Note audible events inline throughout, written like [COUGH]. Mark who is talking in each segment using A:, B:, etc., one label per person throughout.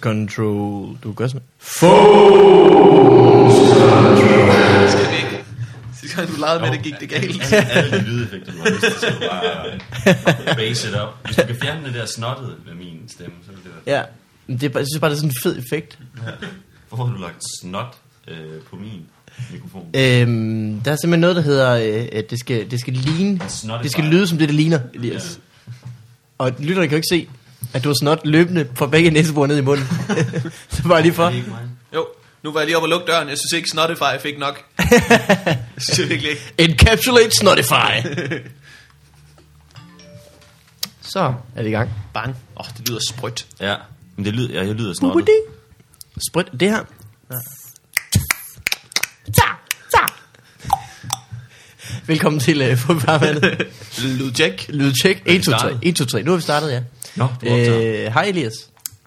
A: Control. Du gør sådan.
B: Det skal vi ikke. Sidste gang du legede med det, gik det galt.
C: Alle, alle de lydeffekter, du har lyst til, så du bare base it up. Hvis du kan fjerne det der snottede ved min stemme, så vil det være...
A: Ja. Men Det er, bare- jeg synes bare, det er sådan en fed effekt.
C: Hvorfor har du lagt snot øh, på min mikrofon?
A: Øhm, der er simpelthen noget, der hedder, øh, at det skal, det skal ligne.
C: snottefejl.
A: Det skal lyde som det, det ligner, Elias. Og lytterne kan jo ikke se, at du har snot løbende fra begge næsebord ned i
C: [LAUGHS]
A: munden. Så bare lige
C: Er
A: for.
C: det ikke mig?
B: Jo, nu var jeg lige oppe og lukke døren. Jeg synes ikke, Snotify fik
A: [LAUGHS]
B: nok. Jeg synes jeg virkelig ikke.
A: Encapsulate Snotify. [LAUGHS] Så er det i gang.
B: Bang. Åh, oh, det lyder sprødt.
C: Ja, men det lyder, ja, jeg lyder snottet.
A: Bubbidi. Sprit det her. Ja. Velkommen til uh, Fodboldfarvandet.
B: Ludjek.
A: Lydtjek.
C: vi
A: 1, 2, 3.
C: startet?
A: 1, 2, 3. Nu er vi startet, ja.
C: Nå, du optager.
A: Øh, Hej Elias.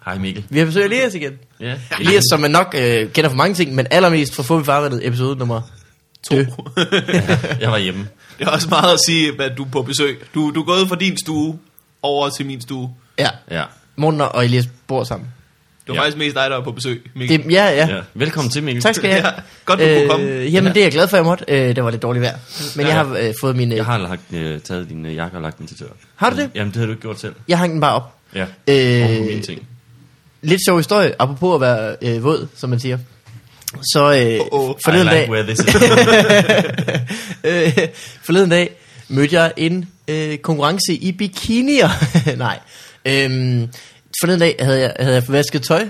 C: Hej Mikkel.
A: Vi har besøg af Elias igen.
C: Ja.
A: Elias, som man nok øh, kender for mange ting, men allermest fra Fodboldfarvandet episode nummer 2.
C: Jeg var hjemme.
B: Det er også meget at sige, at du er på besøg. Du, du er gået fra din stue over til min stue.
A: Ja.
C: Ja.
A: Morten og Elias bor sammen.
B: Det var
C: Ja.
B: ja. faktisk mest dig, der var på besøg, Mikkel.
A: Det, ja, ja.
C: ja. Velkommen til Mikkel.
A: Tak skal
C: [LAUGHS]
A: jeg have. Øh,
B: Ja, godt, du kunne komme.
A: Jamen, det er jeg glad for, jeg måtte. Øh, det var lidt dårligt vejr. Men jeg har øh, fået min... Øh,
C: Jeg har lagt, øh, taget din øh, jakke og lagt den til tør.
A: Har du det?
C: Jamen, det havde du ikke gjort selv.
A: jeg hang den bare op.
C: Ja.
A: Øh,
C: Øh... mine ting.
A: Lidt sjov historie, apropos at være øh, våd, som man siger. Så øh,
B: Åh, åh.
A: forleden,
C: Oh, I like
A: dag,
C: where [LAUGHS] this is.
A: [LAUGHS] øh, forleden dag mødte jeg en øh, konkurrence i bikinier. [LAUGHS] Nej. Øhm, forleden dag havde jeg, havde jeg vasket tøj,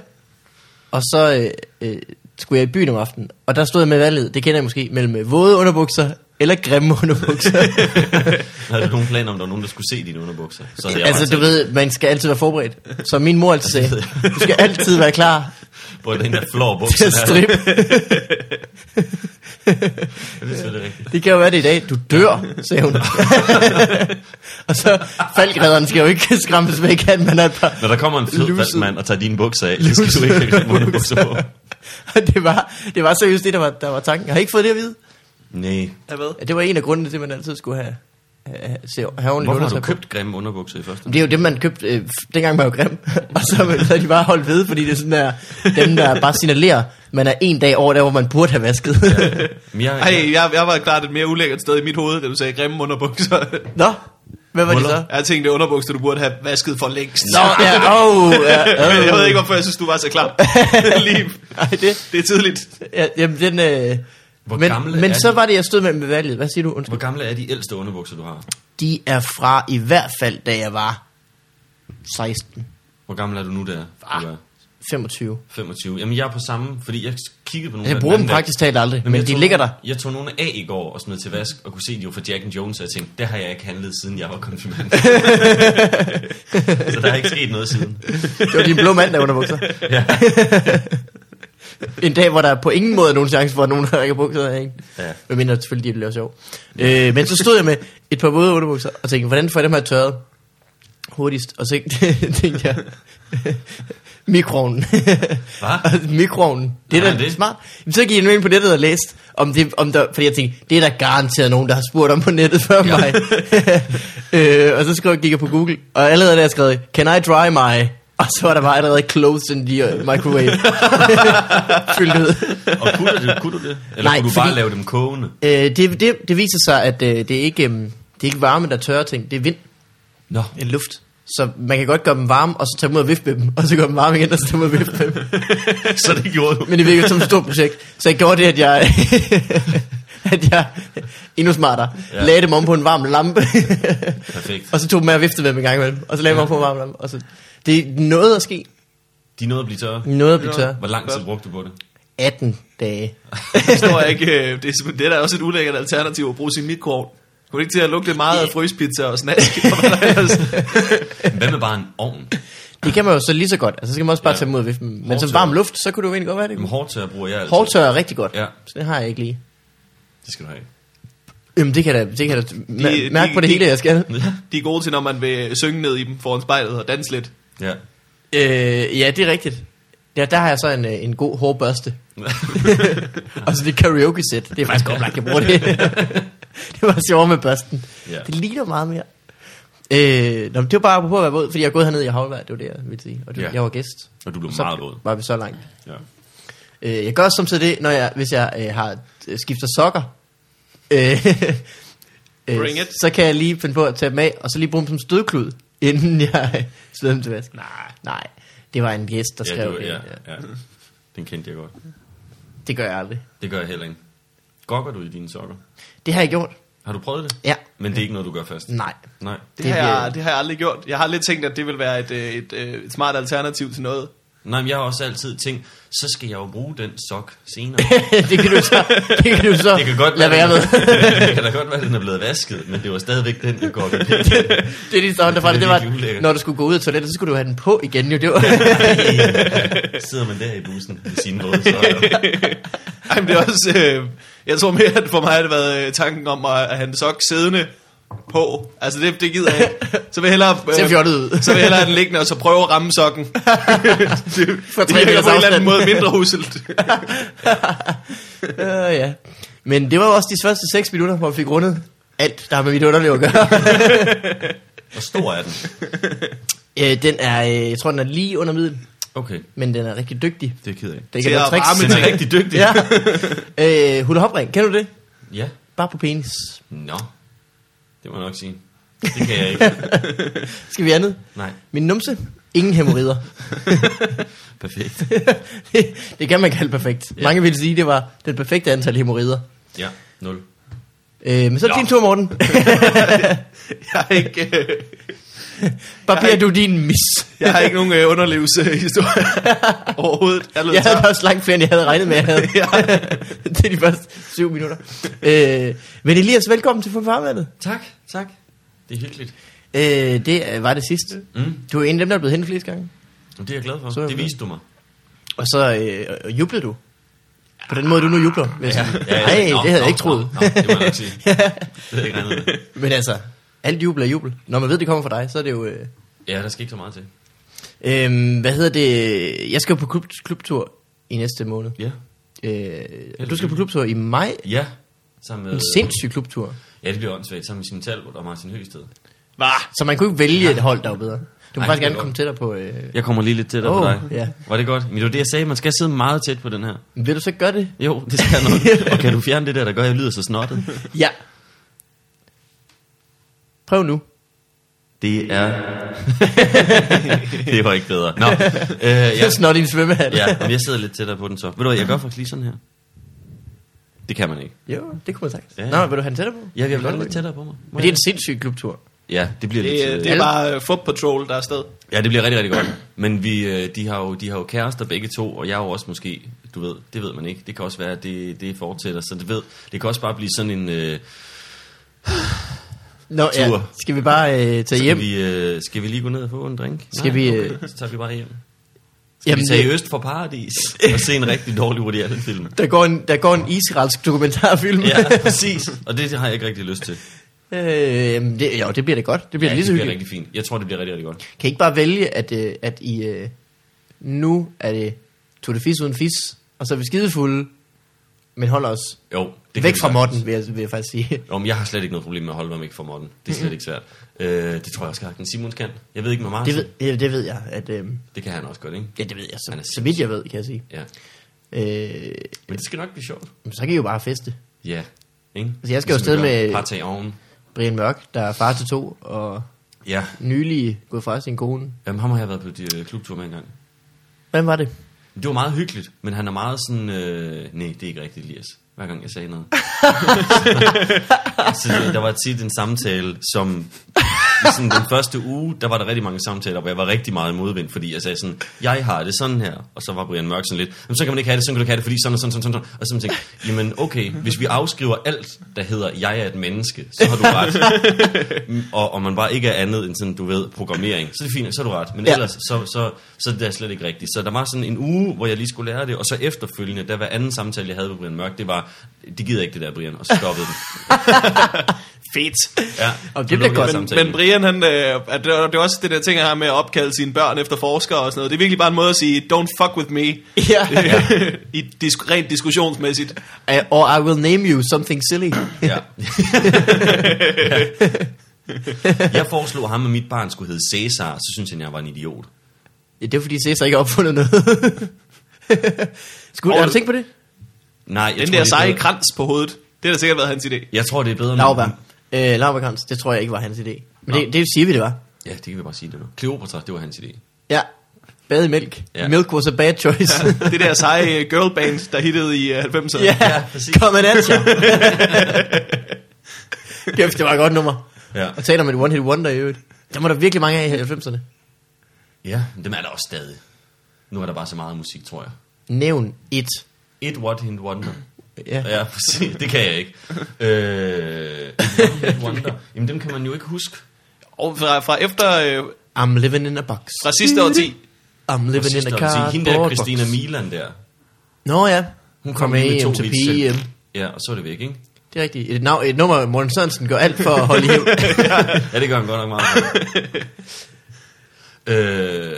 A: og så øh, øh, skulle jeg i byen om aftenen. Og der stod jeg med valget, det kender jeg måske, mellem øh, våde underbukser eller grimme [LAUGHS] underbukser.
C: Havde du nogen planer om, der var nogen, der skulle se dine underbukser? Så havde jeg
A: altså du
C: bare
A: ved, man skal altid være forberedt. Som min mor altid
C: [LAUGHS]
A: sagde,
C: Altså,
A: du skal altid være klar
C: tænkt, På den der flår
A: til
C: bukser
A: at
C: der.
A: strippe.
C: Ja, Det er selvfølgelig rigtigt.
A: Det kan jo være det i dag. Du dør, sagde
C: [LAUGHS]
A: hun. og så faldgræderen skal jo ikke skræmmes væk, at man er et par...
C: Når der kommer en fed
A: Lucid.
C: faldmand og tager dine bukser af, så skal du ikke have dine underbukser på.
A: [LAUGHS] Og det var, det var seriøst det, der var, der var tanken. Jeg har I ikke fået det at vide.
C: Nej.
B: Ja, hvad?
A: Ja, Det var en af grundene til, at man altid skulle have, have, have, have ordentligt
C: Hvorfor har du
A: undertøj på.
C: købt grimme underbukser i første
A: Det er jo dem, man købte, øh, dengang man var grim. [LAUGHS] og så har de bare holdt ved, fordi det er sådan der, dem, der bare signalerer, man er en dag over der, hvor man burde have [LAUGHS] vasket.
C: Men jeg,
B: Ej, jeg, jeg var klart et mere ulækkert sted i mit hoved, da du sagde grimme underbukser.
A: Nå, hvad var det
C: Huller.
A: så?
B: Jeg tænkte, det er underbukser, du burde have vasket for længst.
A: Nå, [LAUGHS] ja, oh, ja,
B: [LAUGHS] Men
A: oh.
B: jeg ved ikke, hvorfor jeg synes, du var så
A: [LAUGHS]
B: klam. Lige.
A: Ej, det,
B: Det er tidligt.
A: ja, jamen, den, øh,
C: Hvor
A: men,
C: gamle
A: men
C: er
A: så
C: de?
A: var det, jeg stod med, med valget. Hvad siger du? Undskyld.
C: Hvor gamle er de ældste underbukser, du har?
A: De er fra i hvert fald, da jeg var 16,
C: Hvor gammel er du nu, der?
A: Ah.
C: Du er
A: 25.
C: 25. Jamen, jeg er på samme, fordi jeg kiggede på nogle
A: Jeg
C: af
A: bruger dem
C: anden dag.
A: praktisk talt aldrig,
C: Jamen,
A: men
C: jeg
A: de
C: tog
A: ligger der.
C: nogle- Jeg tog nogle af i går og smed til vask, og kunne se, at de var fra Jack and Jones, og jeg tænkte, det har jeg ikke handlet, siden jeg var konfirmand. så der er ikke sket noget siden.
A: Det var din blå mand, der under bukser.
C: Ja.
A: [LAUGHS] En dag, hvor der på ingen måde er nogen chance for, at nogen har rækker bukser af en.
C: Ja.
A: Men mindre selvfølgelig, de bliver sjov. Øh, men så stod jeg med et par våde underbukser og tænkte, hvordan får jeg dem her tørret hurtigst? Og så [LAUGHS] tænkte jeg, mikroovnen. [LAUGHS]
C: Hvad?
A: mikroovnen. Det er
C: Hvordan
A: da
C: er det?
A: smart. Jamen, så gik jeg nu ind på nettet og læste, om det, om der, fordi jeg tænkte, det er der garanteret nogen, der har spurgt om på nettet før ja. [LAUGHS] mig. øh, og så skrev, gik jeg på Google, og allerede der jeg skrev, can I dry my... [LAUGHS] Og så var der bare allerede closed in the øh, [LAUGHS] microwave. Fyldt ud.
C: Og kunne du det? Kunne du det? Eller
A: Nej,
C: kunne du bare
A: fordi-
C: lave dem kogende?
A: Øh, det, det, det viser sig, at øh, det, er ikke, øh, det er ikke varme, der tørrer ting. Det er vind,
C: Nå,
A: en luft. Så man kan godt gøre dem varme, og så tage dem ud og vifte med dem, og så gøre dem varme igen, og så tage dem ud og vifte med dem.
C: [LAUGHS] så det gjorde du.
A: [LAUGHS] Men det virker som et stort projekt. Så jeg gjorde det, at jeg, [LAUGHS] at jeg endnu smartere,
C: Ja.
A: ja. lagde dem om på en varm lampe,
C: Perfekt.
A: [LAUGHS] og så tog dem med og viftede med dem en gang imellem, og så lagde dem om på en varm lampe. Og så, det er noget at ske,
C: De nåede at blive tørre.
A: noget at blive tørre.
C: Hvor lang tid brugte du på det?
A: 18 [LAUGHS] dage.
B: Det står jeg ikke. øh, Det er, simpelthen- det er da også et ulækkert alternativ at bruge sin mikroovn. Kunne det ikke til at lugte lidt meget af fryspizza og snask? [LAUGHS] Og hvad der
A: [LAUGHS]
B: ellers?
C: Hvad med bare en ovn?
A: Det kan man jo så lige så godt, altså så skal man også bare
C: Ja.
A: ja. tage dem ud og vifte med dem. Men som
C: Hårdtørre.
A: varm luft, så kunne det jo egentlig godt være det.
C: Jamen, hårdtør bruger jeg altid.
A: Hårdtørre er rigtig godt,
C: Ja.
A: ja. så det har jeg ikke lige.
C: Det skal du have.
A: Jamen det kan da, det kan da
B: De-
A: mær- mærke
B: de-
A: på det
B: de-
A: hele, jeg skal.
B: De er gode til, når man vil synge ned i dem foran spejlet og danse lidt.
A: [LAUGHS]
C: Ja.
A: Øh, ja, det er rigtigt. Ja, der har jeg så en, øh, en god hårbørste. [LAUGHS] og så det karaoke-sæt. Det [LAUGHS] er faktisk oplagt, jeg bruger det. det var sjovt med børsten.
C: Ja.
A: Det ligner meget mere. Øh, nå, men det var bare på at være våd, fordi jeg er gået herned i havlvejr, det var det, jeg ville sige. Og det,
C: Ja.
A: ja. jeg var gæst.
C: Og du blev
A: så
C: meget våd.
A: Var vi så langt.
C: Ja.
A: Øh, jeg gør også samtidig det, når jeg, hvis jeg øh, har øh, skifter sokker. Øh, [LAUGHS] øh,
B: Bring it.
A: Så kan jeg lige finde på at tage dem af, og så lige bruge dem som stødklud, [LAUGHS] inden jeg [LAUGHS] øh, smider dem til vask. Nej, nej. Det var en gæst, der
C: Ja,
A: skrev
C: du,
A: det.
C: ja, ja. Den kendte jeg godt.
A: Det gør jeg aldrig.
C: Det gør jeg heller ikke. Gokker du i dine sokker?
A: Det har jeg gjort.
C: Har du prøvet det?
A: Ja. Mm.
C: Men det er ikke noget, du gør fast?
A: Nej.
C: Nej.
B: Det,
A: Det
B: har
A: bliver-
B: jeg, det har jeg aldrig gjort. Jeg har lidt tænkt, at det vil være et, øh, et, et, et smart alternativ til noget.
C: Nej, men jeg har også altid tænkt, så skal jeg jo bruge den sok senere.
A: det kan du så, det kan du [LAUGHS] så
C: [LAUGHS] Det kan godt
A: lade være med.
C: [LAUGHS] det kan da godt være, at den er blevet vasket, men det var stadigvæk den, jeg
A: [LAUGHS]
C: går med.
A: det er lige sådan, der var det, det
C: Det er virkelig
A: var,
C: ulækkert.
A: når du skulle gå ud af toilettet, så skulle du have den på igen. Jo, det var, [LAUGHS]
C: Sidder man der i bussen med sine våde sokker.
B: Ej, men det er også... Øh, jeg tror mere, at for mig har det været øh, tanken om at, at have en sok siddende på. Altså, det, det gider jeg ikke. Så vil jeg
A: [LAUGHS]
B: hellere... Øh,
A: Ser fjollet ud.
B: Så vil jeg hellere have den liggende, og så prøve at ramme
A: [LAUGHS]
B: sokken. det,
A: Fra
B: det
A: tre meters
B: virker på en eller
A: afstand.
B: anden måde mindre huselt.
A: øh, [LAUGHS] ja. Men det var jo også de første 6 minutter, hvor vi fik rundet alt, der har med mit underliv at gøre.
C: Hvor stor er den?
A: Øh, den er, øh, jeg tror, den er lige under middel,
C: Okay,
A: men den er rigtig dygtig.
C: det er jeg ked af.
A: Den
B: Til
A: kan lave
B: at
A: tricks.
B: varme
C: Den er rigtig dygtig. [LAUGHS]
A: Ja. Øh, hula hopring, kender du det?
C: ja.
A: Bare på penis.
C: Nå, det må jeg nok sige. Det kan jeg [LAUGHS] ikke.
A: Skal vi andet?
C: Nej,
A: Min numse? Ingen hemorrider. [LAUGHS]
C: perfekt.
A: det kan man kalde perfekt.
C: Ja.
A: Mange ville sige, det var det perfekte antal hemorrider.
C: Ja, nul.
A: Øh, men så er det
B: Nå.
A: din tur,
C: [LAUGHS]
A: Morten.
B: Jeg har ikke, øh,
A: Barberer du din
C: [LAUGHS]
A: mis?
B: jeg har ikke nogen øh, underlevelseshistorie overhovedet. Jeg
A: [LAUGHS]
B: lød
A: Jeg havde
B: tør.
A: faktisk langt flere, end jeg havde regnet med, jeg
C: [LAUGHS]
A: havde.
B: Ja.
A: [LAUGHS] det er de første syv minutter. Øh, men Elias, velkommen til Farvandet.
C: Tak, tak. Det er hyggeligt.
A: Øh, det øh, var det sidste.
C: Mm.
A: Du er en af dem, der er blevet hentet flest gange.
C: Det er jeg glad for.
A: Så er
C: det
A: jeg
C: viste du mig.
A: Og så øh, og jublede du. På den måde, du nu jubler. Ja, ja, Nej,
C: Nå,
A: det havde
C: nå,
A: jeg ikke troet.
C: Nå, nå, det må jeg nok sige. Det havde jeg ikke regnet med.
A: [LAUGHS]
C: [LAUGHS]
A: Men altså, alt jubel er jubel. Når man ved, det kommer fra dig, så er det jo... Øh,
C: Ja, der skal ikke så meget til.
A: øh, hvad hedder det? Jeg skal jo på klub, klubtur i næste måned.
C: Ja.
A: Øh, og du skal på klubtur i maj.
C: Ja. Sammen med,
A: En sindssyg klubtur.
C: Ja, det bliver åndssvagt. Sammen med Signe Talbot og Martin Høsted.
B: Var.
A: Så man kunne ikke vælge et hold, der var bedre. Du må
C: Ej,
A: faktisk
C: det er
A: gerne komme tættere på... Øh,
C: Jeg kommer lige lidt tættere
A: Åh,
C: på dig.
A: ja.
C: Var det godt? Men det var det, jeg sagde. Man skal sidde meget tæt på den her.
A: vil du så gøre det?
C: Jo, det
A: [LAUGHS]
C: skal jeg nok. Og kan du fjerne det der, der gør, at jeg lyder så snottet?
A: Ja. Prøv nu.
C: Det er... [LAUGHS] det var ikke bedre. Nå, øh,
A: Jeg
C: ja.
A: er [LAUGHS] snot i en svømmehal.
C: ja, men jeg sidder lidt tættere på den så. Ved du hvad, jeg gør faktisk lige sådan her. Det kan man ikke.
A: Jo, det kunne man sagt.
C: Ja,
A: Ja,
C: ja.
A: Nå, vil du have den tættere på?
C: Ja, jeg
A: Kan
C: vil
A: du
C: godt lidt tættere på mig. Må
A: Men det er
C: jeg?
A: en sindssyg klubtur.
C: Ja, det bliver lidt...
B: Det,
C: øh,
B: øh, det er
A: Alle-
B: bare øh, Foot Patrol, der er afsted.
C: Ja, det bliver rigtig, rigtig godt. Men vi, øh, de, har jo, de har jo kærester begge to, og jeg er jo også måske, du ved, det ved man ikke. Det kan også være, at det, det fortsætter, så det ved. Det kan også bare blive sådan en, øh,
A: Nå, ja.
C: Tur.
A: Skal vi bare øh, tage hjem?
C: skal, vi, øh, skal vi lige gå ned og få en drink?
A: Skal
C: Nej,
A: vi, øh,
C: Okay, så tager vi bare hjem. Skal
A: Jamen,
C: vi tage i
A: det-
C: Øst for Paradis og se en rigtig dårlig reality-film?
A: der, går en, der går en israelsk dokumentarfilm.
C: [LAUGHS]
A: [LAUGHS]
C: Ja, præcis. Og det, det har jeg ikke rigtig lyst til.
A: øh, jamen, det, jo, det bliver det godt. Det bliver
C: ja,
A: ja, lige så
C: det bliver
A: hyggeligt.
C: rigtig fint. Jeg tror, det bliver rigtig, rigtig godt.
A: Kan I ikke bare vælge, at, øh, at I... Øh, nu er det Tour de Fis uden fis, og så er vi skidefulde, men hold os
C: Jo, det kan
A: væk
C: vi
A: fra
C: sagtens.
A: Morten, vil jeg, vil jeg faktisk sige.
C: Jo, men jeg har slet ikke noget problem med at holde mig væk fra Morten. Det er slet ikke svært. Øh, det tror jeg også, at Simons kan. Jeg ved ikke, med
A: Det
C: Martin. Det,
A: ved, øh, det ved jeg, at... Øh,
C: det kan han også godt, ikke?
A: ja, det ved jeg, så,
C: Han er
A: så vidt jeg ved, kan jeg sige.
C: Ja.
A: Øh,
C: Men det skal nok blive sjovt.
A: så kan I jo bare feste.
C: Ja. Ikke? Ligesom
A: Altså, jeg skal jo afsted med-
C: Partag oven.
A: Brian Mørk, der er far til to, og
C: Ja.
A: nylig gået fra sin kone.
C: Jamen, ham har jeg været på de, øh, klubtur med engang.
A: Hvem var det?
C: Det var meget hyggeligt, men han er meget sådan... Øh, nej, det er ikke rigtigt, Elias. Hver gang jeg sagde noget. så øh, der var tit en samtale, som... i Sådan, den første uge, der var der rigtig mange samtaler, hvor jeg var rigtig meget i modvind, fordi jeg sagde sådan, jeg har det sådan her, og så var Brian Mørk sådan lidt, men så kan man ikke have det, sådan kan du ikke have det, fordi sådan og sådan, sådan, sådan, sådan. og så tænkte jeg, jamen okay, hvis vi afskriver alt, der hedder, jeg er et menneske, så har du ret, og, og man bare ikke er andet end sådan, du ved, programmering, så er det fint, så er du ret, men
A: Ja.
C: ellers, så, så, så er det er slet ikke rigtigt. Så der var sådan en uge, hvor jeg lige skulle lære det, og så efterfølgende, der var anden samtale, jeg havde med Brian Mørk, det var, det gider ikke det der, Brian, og så stoppede den.
B: Fedt.
C: Ja,
A: Og det
C: så
A: bliver
C: lukkede
A: godt.
C: jeg
B: Men,
C: samtalen.
B: men Brian, han, øh, at det, er- det er også det der ting, han har med at opkalde sine børn efter forskere og sådan noget. Det er virkelig bare en måde at sige, don't fuck with me.
A: Ja.
B: [LAUGHS] I disk, rent diskussionsmæssigt.
A: Uh, or I will name you something silly.
C: Ja. Jeg foreslog ham, at mit barn skulle hedde Cæsar, så synes han, jeg var en idiot.
A: Ja, det er fordi Cæsar ikke har opfundet noget. [LAUGHS] Skulle,
B: Og-
A: har du tænkt på det?
C: Nej, jeg
B: Den
C: tror,
B: der
C: det er
B: seje
C: bedre.
B: krans på hovedet, det har da sikkert været hans idé.
C: Jeg tror, det er bedre
A: Lauberg. Øh, Lauberg det tror jeg ikke var hans idé. Men det, det siger vi, det var.
C: Ja, det kan vi bare sige det nu. Kleopatra, det var hans idé.
A: Ja. Bad i mælk.
C: Ja.
A: Ja. Milk was a bad choice.
C: [LAUGHS]
B: Det der seje øh, girlband, der hittede i øh, 90'erne.
A: ja,
C: Ja, præcis.
A: kom en
C: [LAUGHS]
A: answer. Kæft, det var et godt nummer.
C: Ja.
A: Og taler om et one-hit wonder i øvrigt. Der var der virkelig mange af i 90'erne.
C: Ja, men dem er der også stadig. Nu er der bare så meget musik, tror jeg.
A: Nævn et.
C: Et what hint wonder.
A: Ja.
C: Ja, præcis. Det kan jeg ikke. Øh, et what hit wonder. Jamen, dem kan man jo ikke huske.
B: Og fra, fra efter, øh,
A: I'm living in a box.
B: fra sidste årti,
A: I'm
C: Fra
A: living in
C: sidste
A: a
C: år, sige.
A: car.
C: Hende der Christina Milan der.
A: Nå ja. Hun kom
C: lige
A: med hjem til
C: hits,
A: PM.
C: ikke? Ja, og så er det væk, ikke? [LAUGHS]
A: Det er rigtigt. Et, nav- et nummer, Morten Sørensen gør alt for at holde i hævd.
C: [LAUGHS] Ja, det gør han godt nok meget. øh,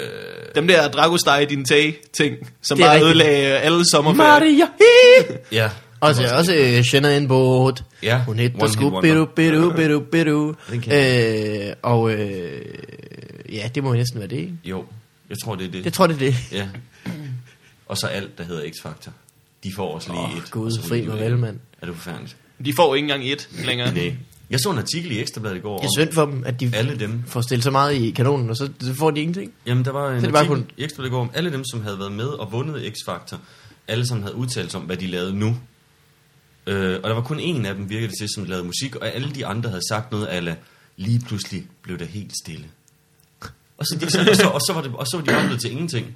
B: dem der Dragostar i din tag ting, som
A: Det er
B: bare
A: rigtigt.
B: ødelagde øh, alle sommerferier.
A: Maria!
C: ja.
A: Og så er også øh, Shanna en båd.
C: Ja,
A: Hun
C: One
A: hedder
C: Hit
A: sgu
C: Wonder.
A: bidu, bidu, bidu, bidu.
C: Den kan
A: Øh, og øh, ja, det må jo næsten være det, ikke?
C: Jo, jeg tror, det er det.
A: Jeg tror, det er det.
C: Ja. Og så alt, der hedder X-Factor. De får også lige
A: Åh,
C: et.
A: Gud,
C: og så ryger
A: fri
C: de
A: mig
C: ud.
A: vel, mand.
C: Er det forfærdeligt?
B: De får ikke engang et længere.
C: Nej. Jeg så en artikel i Ekstrabladet i går
A: Det er
C: om,
A: synd for dem, at de
C: Alle dem.
A: får stillet så meget i kanonen, og så så får de ingenting.
C: jamen, der var en
A: det er
C: artikel
A: bare
C: i Ekstrabladet i går om alle dem, som havde været med og vundet X-Factor. Alle sammen havde udtalt sig om, hvad de lavede nu. Øh, og der var kun en af dem, virkede det til, som lavede musik, og alle de andre havde sagt noget af, lige pludselig blev der helt stille. Og så, og så, og så, var, det, og så var de omledt til ingenting.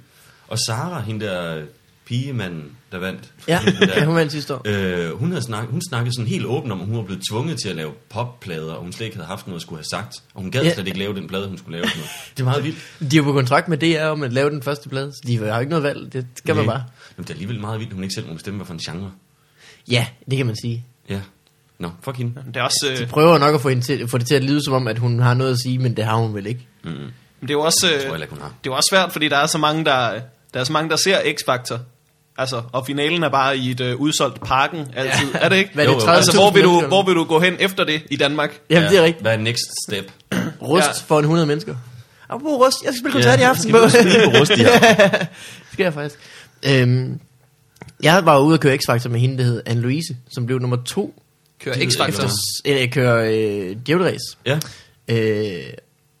C: Og Sara, hende der pigemanden, der vandt.
A: Ja,
C: hende der-
A: [LAUGHS] ja hun vandt sidste år.
C: Øh, hun, havde snak, hun snakkede sådan helt åbent om, at hun var blevet tvunget til at lave popplader, og hun slet ikke havde haft noget at skulle have sagt. Og hun gad
A: Ja.
C: slet ikke lave den plade, hun skulle lave. Sådan
A: [LAUGHS]
C: noget. Det er meget vildt.
A: De er jo på kontrakt med DR om at lave den første plade, så de har jo ikke noget valg. Det skal man
C: Nej.
A: bare.
C: Jamen, det er alligevel meget vildt, at hun ikke selv må bestemme, hvad for en genre.
A: Ja, det kan man sige.
C: Ja. Nå, fuck hende.
B: Det er også, øh,
A: De prøver nok at få, hende til, få det til at lyde som om, at hun har noget at sige, men det har hun vel ikke.
C: Mm-hmm.
B: men det er jo også,
C: Jeg tror
B: øh,
C: heller ikke, hun har.
B: det er jo også svært, fordi der er så mange, der, der, er så mange, der ser X-Factor. Altså, og finalen er bare i et øh, udsolgt parken altid. Ja. Er det ikke?
A: Hvad er
C: Jo,
A: det,
C: jo.
A: 30.000
B: Altså, hvor vil, du,
A: mennesker?
B: hvor vil du gå hen efter det i Danmark?
A: Jamen, det er rigtigt.
C: Hvad er next step?
A: Rust ja. for en 100 mennesker. Og hvor rust? Jeg skal spille koncert
C: Ja,
A: i aften.
C: skal vi også spille
A: [LAUGHS]
C: på Rust i
A: aften. det skal jeg faktisk. Øhm, jeg var ude at køre X-Factor med hende, der hed Anne-Louise, som blev nummer to.
B: Kører
C: Det ved jeg
B: X-Factor.
C: ikke,
A: Eller jeg kører øh, djævleræs.
C: Ja.
A: Øh,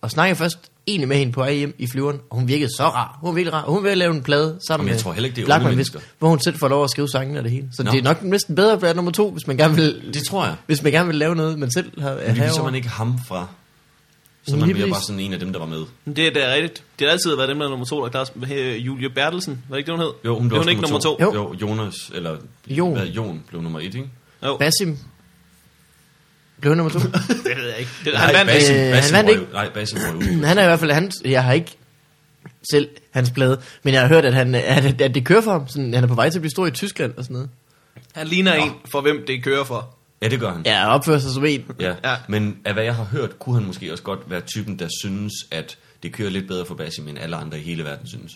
A: og snakkede først egentlig med hende på vej hjem i flyveren, og hun virkede så rar. Hun var virkelig rar. Og hun ville lave en plade sammen
C: Jamen, jeg
A: med
C: tror heller ikke, det er
A: Blackman
C: unge
A: Whisky,
C: mennesker.
A: hvor hun selv får lov at skrive sangene og det hele. Så
C: Nå.
A: det er nok næsten bedre at være nummer to, hvis man gerne vil,
C: Det tror jeg.
A: hvis man gerne vil lave noget, man selv har
C: Men det viser man ikke ham fra. Så man
A: Lige
C: bliver bare
A: præcis.
C: sådan en af dem, der var med.
B: Det er da rigtigt. Det har altid været dem, der er nummer to, der er klar. som- Hey, Julie Bertelsen, var det ikke det, hun hed?
C: Jo, hun blev
B: blev hun
C: også
B: ikke nummer to.
A: Jo.
C: Jo. jo, Jonas, eller
A: Jon.
C: Hvad, Jon blev nummer et, ikke?
B: Jo.
A: Basim blev nummer to.
B: Det ved jeg ikke. Det, han vandt
A: Basim. Øh, han vandt
C: røg-
A: ikke.
C: Nej, Basim røg ud.
A: [CLEARS THROAT] han er i hvert fald, han, jeg har ikke selv hans plade, men jeg har hørt, at, han, at, at det kører for ham. Sådan, han er på vej til at blive stor i Tyskland og sådan noget.
B: Han ligner en, for hvem det kører for.
C: Ja, det gør han.
A: Ja, og opfører sig som en.
C: Ja.
B: Ja.
C: ja, men af hvad jeg har hørt, kunne han måske også godt være typen, der synes, at det kører lidt bedre for Basim, end alle andre i hele verden synes.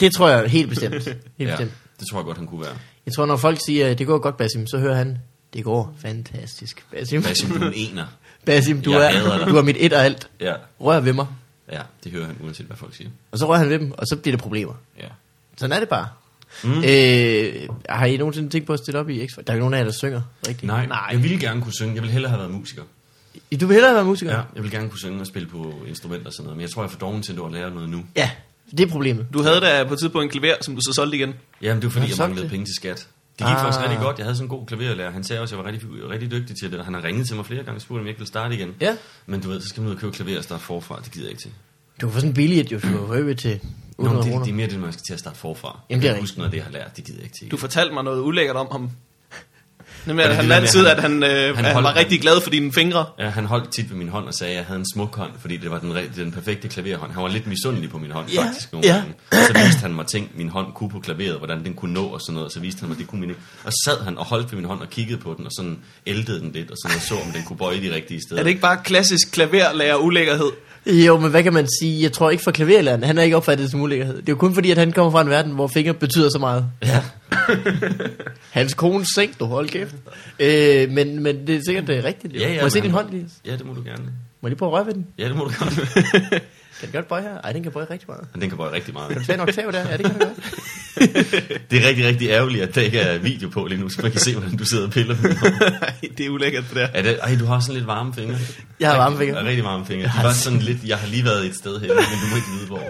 A: Det tror jeg helt
C: [LAUGHS]
A: bestemt. Helt ja.
C: ja,
A: bestemt.
C: det tror jeg godt, han kunne være.
A: Jeg tror, når folk siger, at det går godt, Basim, så hører han, det går fantastisk, Basim.
C: Basim, du er en ener.
A: [LAUGHS] Basim, du,
C: Jeg
A: er,
C: hader dig.
A: du er mit et og alt.
C: Ja.
A: Rør ved mig.
C: ja, det hører han uanset, hvad folk siger.
A: Og så rører han ved dem, og så bliver det problemer.
C: Ja.
A: Sådan er det bare. Mm. Øh, har I nogensinde tænkt på at stille op i x Der er jo nogen af jer, der synger, rigtigt?
C: Nej, Nej, jeg ville gerne kunne synge. Jeg ville hellere have været musiker.
A: Du vil hellere være musiker?
C: Ja, jeg ville gerne kunne synge og spille på instrumenter og sådan noget, men jeg tror, jeg er for doven til at lære noget nu.
A: ja. Det er problemet.
B: Du havde da på et tidspunkt en klaver, som du så solgte igen.
C: Jamen, det var fordi,
A: Nå,
C: jeg
A: så
C: manglede
A: det.
C: penge til skat. Det gik
A: Ah.
C: faktisk rigtig godt. Jeg havde sådan en god klaverlærer. Han sagde også, at jeg var rigtig, rigtig dygtig til det, og han har ringet til mig flere gange og spurgt, om jeg ikke ville starte igen.
A: Ja.
C: Men du ved, så skal man ud og købe klaver og starte forfra. Det gider jeg ikke til.
A: Du kan få sådan en billet, jo, du kan til
C: Nå,
A: 800
C: men det,
A: kroner.
C: det, er mere det, man skal til at starte forfra.
A: Jamen, det er
C: Jeg
A: rigtigt.
C: husker noget af det, jeg har lært. Det gider jeg ikke til.
B: Du fortalte mig noget ulækkert om ham. Nemlig,
C: Er
B: at
C: det det
B: han
C: der med,
B: altid,
C: han-
B: at han, øh,
C: han
B: han, han
C: holdt
B: var
C: den?
B: rigtig glad for dine fingre.
C: Ja, han holdt tit ved min hånd og sagde, at jeg havde en smuk hånd, fordi det var den, re- den perfekte klaverhånd. Han var lidt misundelig på min hånd,
A: Ja,
C: faktisk, nogle
A: ja.
C: gange. Så viste han mig ting, min hånd kunne på klaveret, hvordan den kunne nå og sådan noget, og så viste han mig, det kunne min ikke. Og så sad han og holdt ved min hånd og kiggede på den, og sådan ældede den lidt, og sådan og så, om den kunne bøje de rigtige steder.
B: Er det ikke bare klassisk klaverlærer ulækkerhed?
A: Jo, men hvad kan man sige? Jeg tror ikke for klaverlæreren. Han har ikke opfattet det som ulækkerhed. Det er jo kun fordi, at han kommer fra en verden, hvor fingre betyder så meget.
C: Ja.
A: Hans kone seng, du hold kæft. Øh, men, men det er sikkert det er rigtigt. jo.
C: Ja, ja,
A: Må jeg se
C: men-
A: din hånd, Lias?
C: Ja, det må du gerne.
A: Må jeg lige prøve at røre ved den?
C: Ja, det må du godt.
A: Kan den godt bøje her? Ej, den kan bøje rigtig meget.
C: [LAUGHS] Men Den kan bøje rigtig meget.
A: Kan du tage en oktav der? Ja, det kan den godt.
C: Det er rigtig, rigtig ærgerligt, at der ikke er video på lige nu, så man kan se, hvordan du sidder og piller.
B: Ej, det er ulækkert, det der.
C: Er det, ej, du har sådan lidt varme fingre.
A: Jeg har varme fingre.
C: Jeg har rigtig varme fingre. De var sådan lidt, jeg har lige været et sted her, men du må ikke vide, hvor.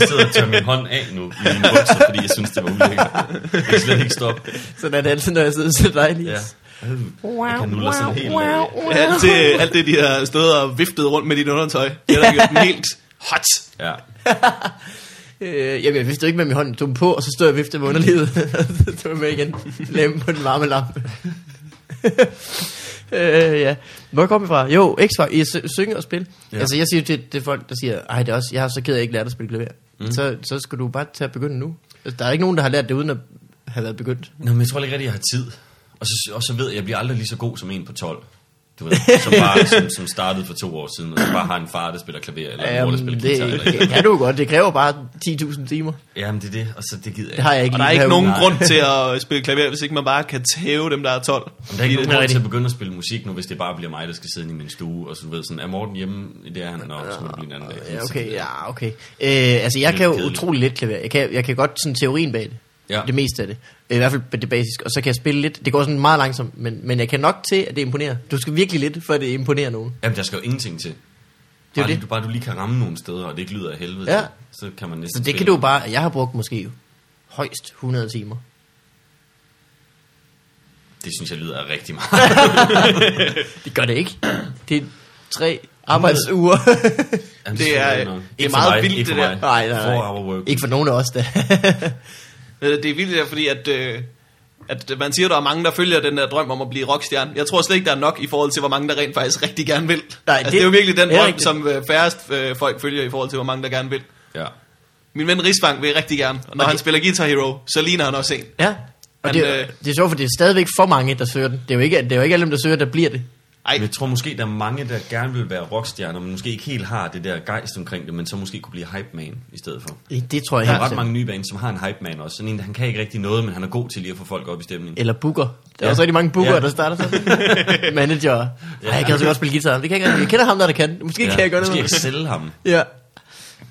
C: Jeg sidder og tør min hånd af nu i mine bukser, fordi jeg synes, det var ulækkert. Jeg kan slet ikke stoppe.
A: Sådan er det altid, når jeg sidder så dejligt.
C: Ja.
A: Ja.
C: Jeg kan nuller sådan helt... øh,
B: Ja, [LAUGHS] alt, det, alt det, de har stået og viftet rundt med dit undertøj, det har da gjort den helt hot.
C: Ja.
A: Øh, jamen, jeg vidste jo ikke med min hånd. Jeg tog den på, og så stod jeg og viftede med underlivet. [LAUGHS] så tog jeg med igen. Læmme på den varme lampe. [LAUGHS] øh, ja. Hvor kom vi fra? Jo, X-Factor. I sy- synge og spille.
C: Ja.
A: Ja. Altså, jeg siger jo til, til folk, der siger, ej, det er også, jeg har så ked af, at jeg ikke lært at spille klaver. Mm. Så, så skal du bare tage at begynde nu. Altså, Der er ikke nogen, der har lært det, uden at have været begyndt.
C: Nå, men jeg tror ikke rigtig, jeg har tid. Og så, og så ved jeg, at jeg bliver aldrig lige så god som en på 12. Du ved, som, bare, som, som startede for to år siden, og som bare har en far, der spiller klaver, eller en mor, der spiller guitar. Eller,
A: Øhm, det kan du jo godt. Det kræver bare 10.000 timer.
C: Jamen, det er det, og så det gider jeg
A: Det har jeg ikke
B: Og der er
A: lige
B: ikke
A: herude.
B: nogen
C: Nej.
B: grund til at spille klaver, hvis ikke man bare kan tæve dem, der er 12.
C: Men Der er ikke nogen
A: er
C: grund til
A: rigtigt.
C: at begynde at spille musik nu, hvis det bare bliver mig, der skal sidde inde i min stue, og så du ved sådan, er Morten hjemme? Det er han nok, så må det blive en anden dag.
A: Ja,
C: Så det
A: okay,
C: er-
A: ja, okay. Øh, altså, jeg
C: Lidt
A: kan jo
C: kedeligt.
A: utrolig lidt klaver. Jeg kan, jeg kan godt sådan teorien bag det.
C: Ja.
A: Det meste af det. Øh, I hvert fald det basiske. Og så kan jeg spille lidt. Det går sådan meget langsomt, men, men jeg kan nok til, at det imponerer. Du skal virkelig lidt, for at det imponerer nogen.
C: Jamen, der skal jo ingenting til.
A: jo
C: Bare,
A: det.
C: det. Du, bare du lige kan ramme nogle steder, og det ikke lyder af helvede
A: Ja.
C: til, så kan man næsten
A: Så det kan
C: spille.
A: du jo bare... Jeg har brugt måske højst 100 timer.
C: Det synes jeg lyder af
A: [LAUGHS]
C: rigtig meget.
A: Det gør det ikke. [CLEARS THROAT] Det er tre arbejdsuger.
C: [LAUGHS]
A: [LAUGHS]
C: Jamen,
B: Det
C: synes jeg
B: er-
C: godt nok.
B: det er
C: Ikke for
B: meget
C: mig,
B: vildt,
C: ikke
B: det
C: for
B: der.
C: mig.
A: nej, nej,
C: Four hour
A: nej.
C: work.
A: Ikke for nogen af os, da. [LAUGHS]
B: Øh, Det er vildt der, fordi at, øh, at man siger, at der er mange, der følger den der drøm om at blive rockstjerne. Jeg tror slet ikke, der er nok i forhold til, hvor mange, der rent faktisk rigtig gerne vil.
A: Nej,
B: altså,
A: det-
B: det er jo virkelig den
A: det er
B: drøm,
A: rigtigt.
B: som øh, færrest øh, folk følger i forhold til, hvor mange, der gerne vil.
C: Ja.
B: Min ven Rigsvang vil rigtig gerne, og når
A: Og
B: han
A: det-
B: spiller Guitar Hero, så ligner han også en.
A: ja. Og
B: Men,
A: det, er,
B: øh,
A: jo- det er sjovt, for det er stadigvæk for mange, der søger den. Det er jo ikke, det er jo ikke alle dem, der søger, der bliver det.
B: Ej.
C: Men jeg tror måske, der er mange, der gerne vil være rockstjerner, men måske ikke helt har det der gejst omkring det, men så måske kunne blive hype man i stedet for.
A: Det tror jeg
C: Der er
A: helt
C: ret
A: sikkert.
C: mange nye baner, som har en hype man også. Sådan en, der- han kan ikke rigtig noget, men han er god til lige at få folk op i stemningen.
A: Eller booker. Der er
C: Ja.
A: ja. også rigtig mange booker,
C: Ja.
A: ja. der starter sådan. Manager. Ej, jeg kan altså godt spille guitar. Det kan jeg, ikke rigtig. jeg kender ham, der, der kan. Måske ja. kan jeg gøre
C: Måske
A: noget.
C: jeg sælge ham.
A: [LAUGHS] Ja.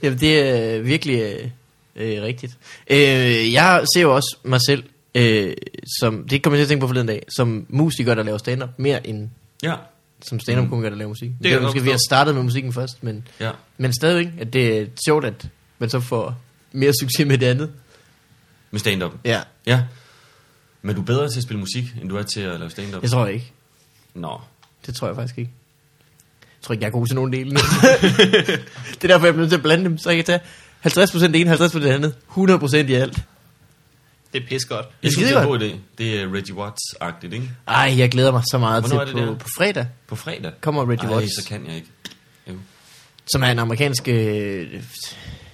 A: Jamen, det er virkelig øh, øh, rigtigt. Øh, jeg ser jo også mig selv, øh, som, det kom jeg til at tænke på forleden dag, som musiker, der laver stand-up, mere end
C: Ja.
A: som stand-up-komiker, der laver musik. Det,
B: kan
A: det er
B: jeg godt
A: måske, vi har
B: forstå.
A: startet med musikken først, men,
C: Ja.
A: men stadigvæk, at det er sjovt, at man så får mere succes med det andet.
C: Med stand-up.
A: Ja,
C: Ja. Men du er bedre til at spille musik, end du er til at lave stand-up?
A: det tror jeg ikke.
C: Nå.
A: Det tror jeg faktisk ikke. Jeg tror ikke, jeg er god til nogen dele. [LAUGHS] det er derfor, jeg bliver nødt til at blande dem, så jeg kan tage 50% det ene, 50% det andet, 100% i alt.
B: Det er pis godt.
C: Jeg
A: er
C: synes, det er en god
A: skidegodt.
C: idé. Det er Reggie Watts-agtigt, ikke?
A: Ej, jeg glæder mig så meget
C: Hvornår
A: til
C: er det
A: på,
C: der?
A: på fredag,
C: På fredag.
A: Kommer Reggie Watts.
C: så kan jeg ikke. Jo.
A: som er en amerikansk øh,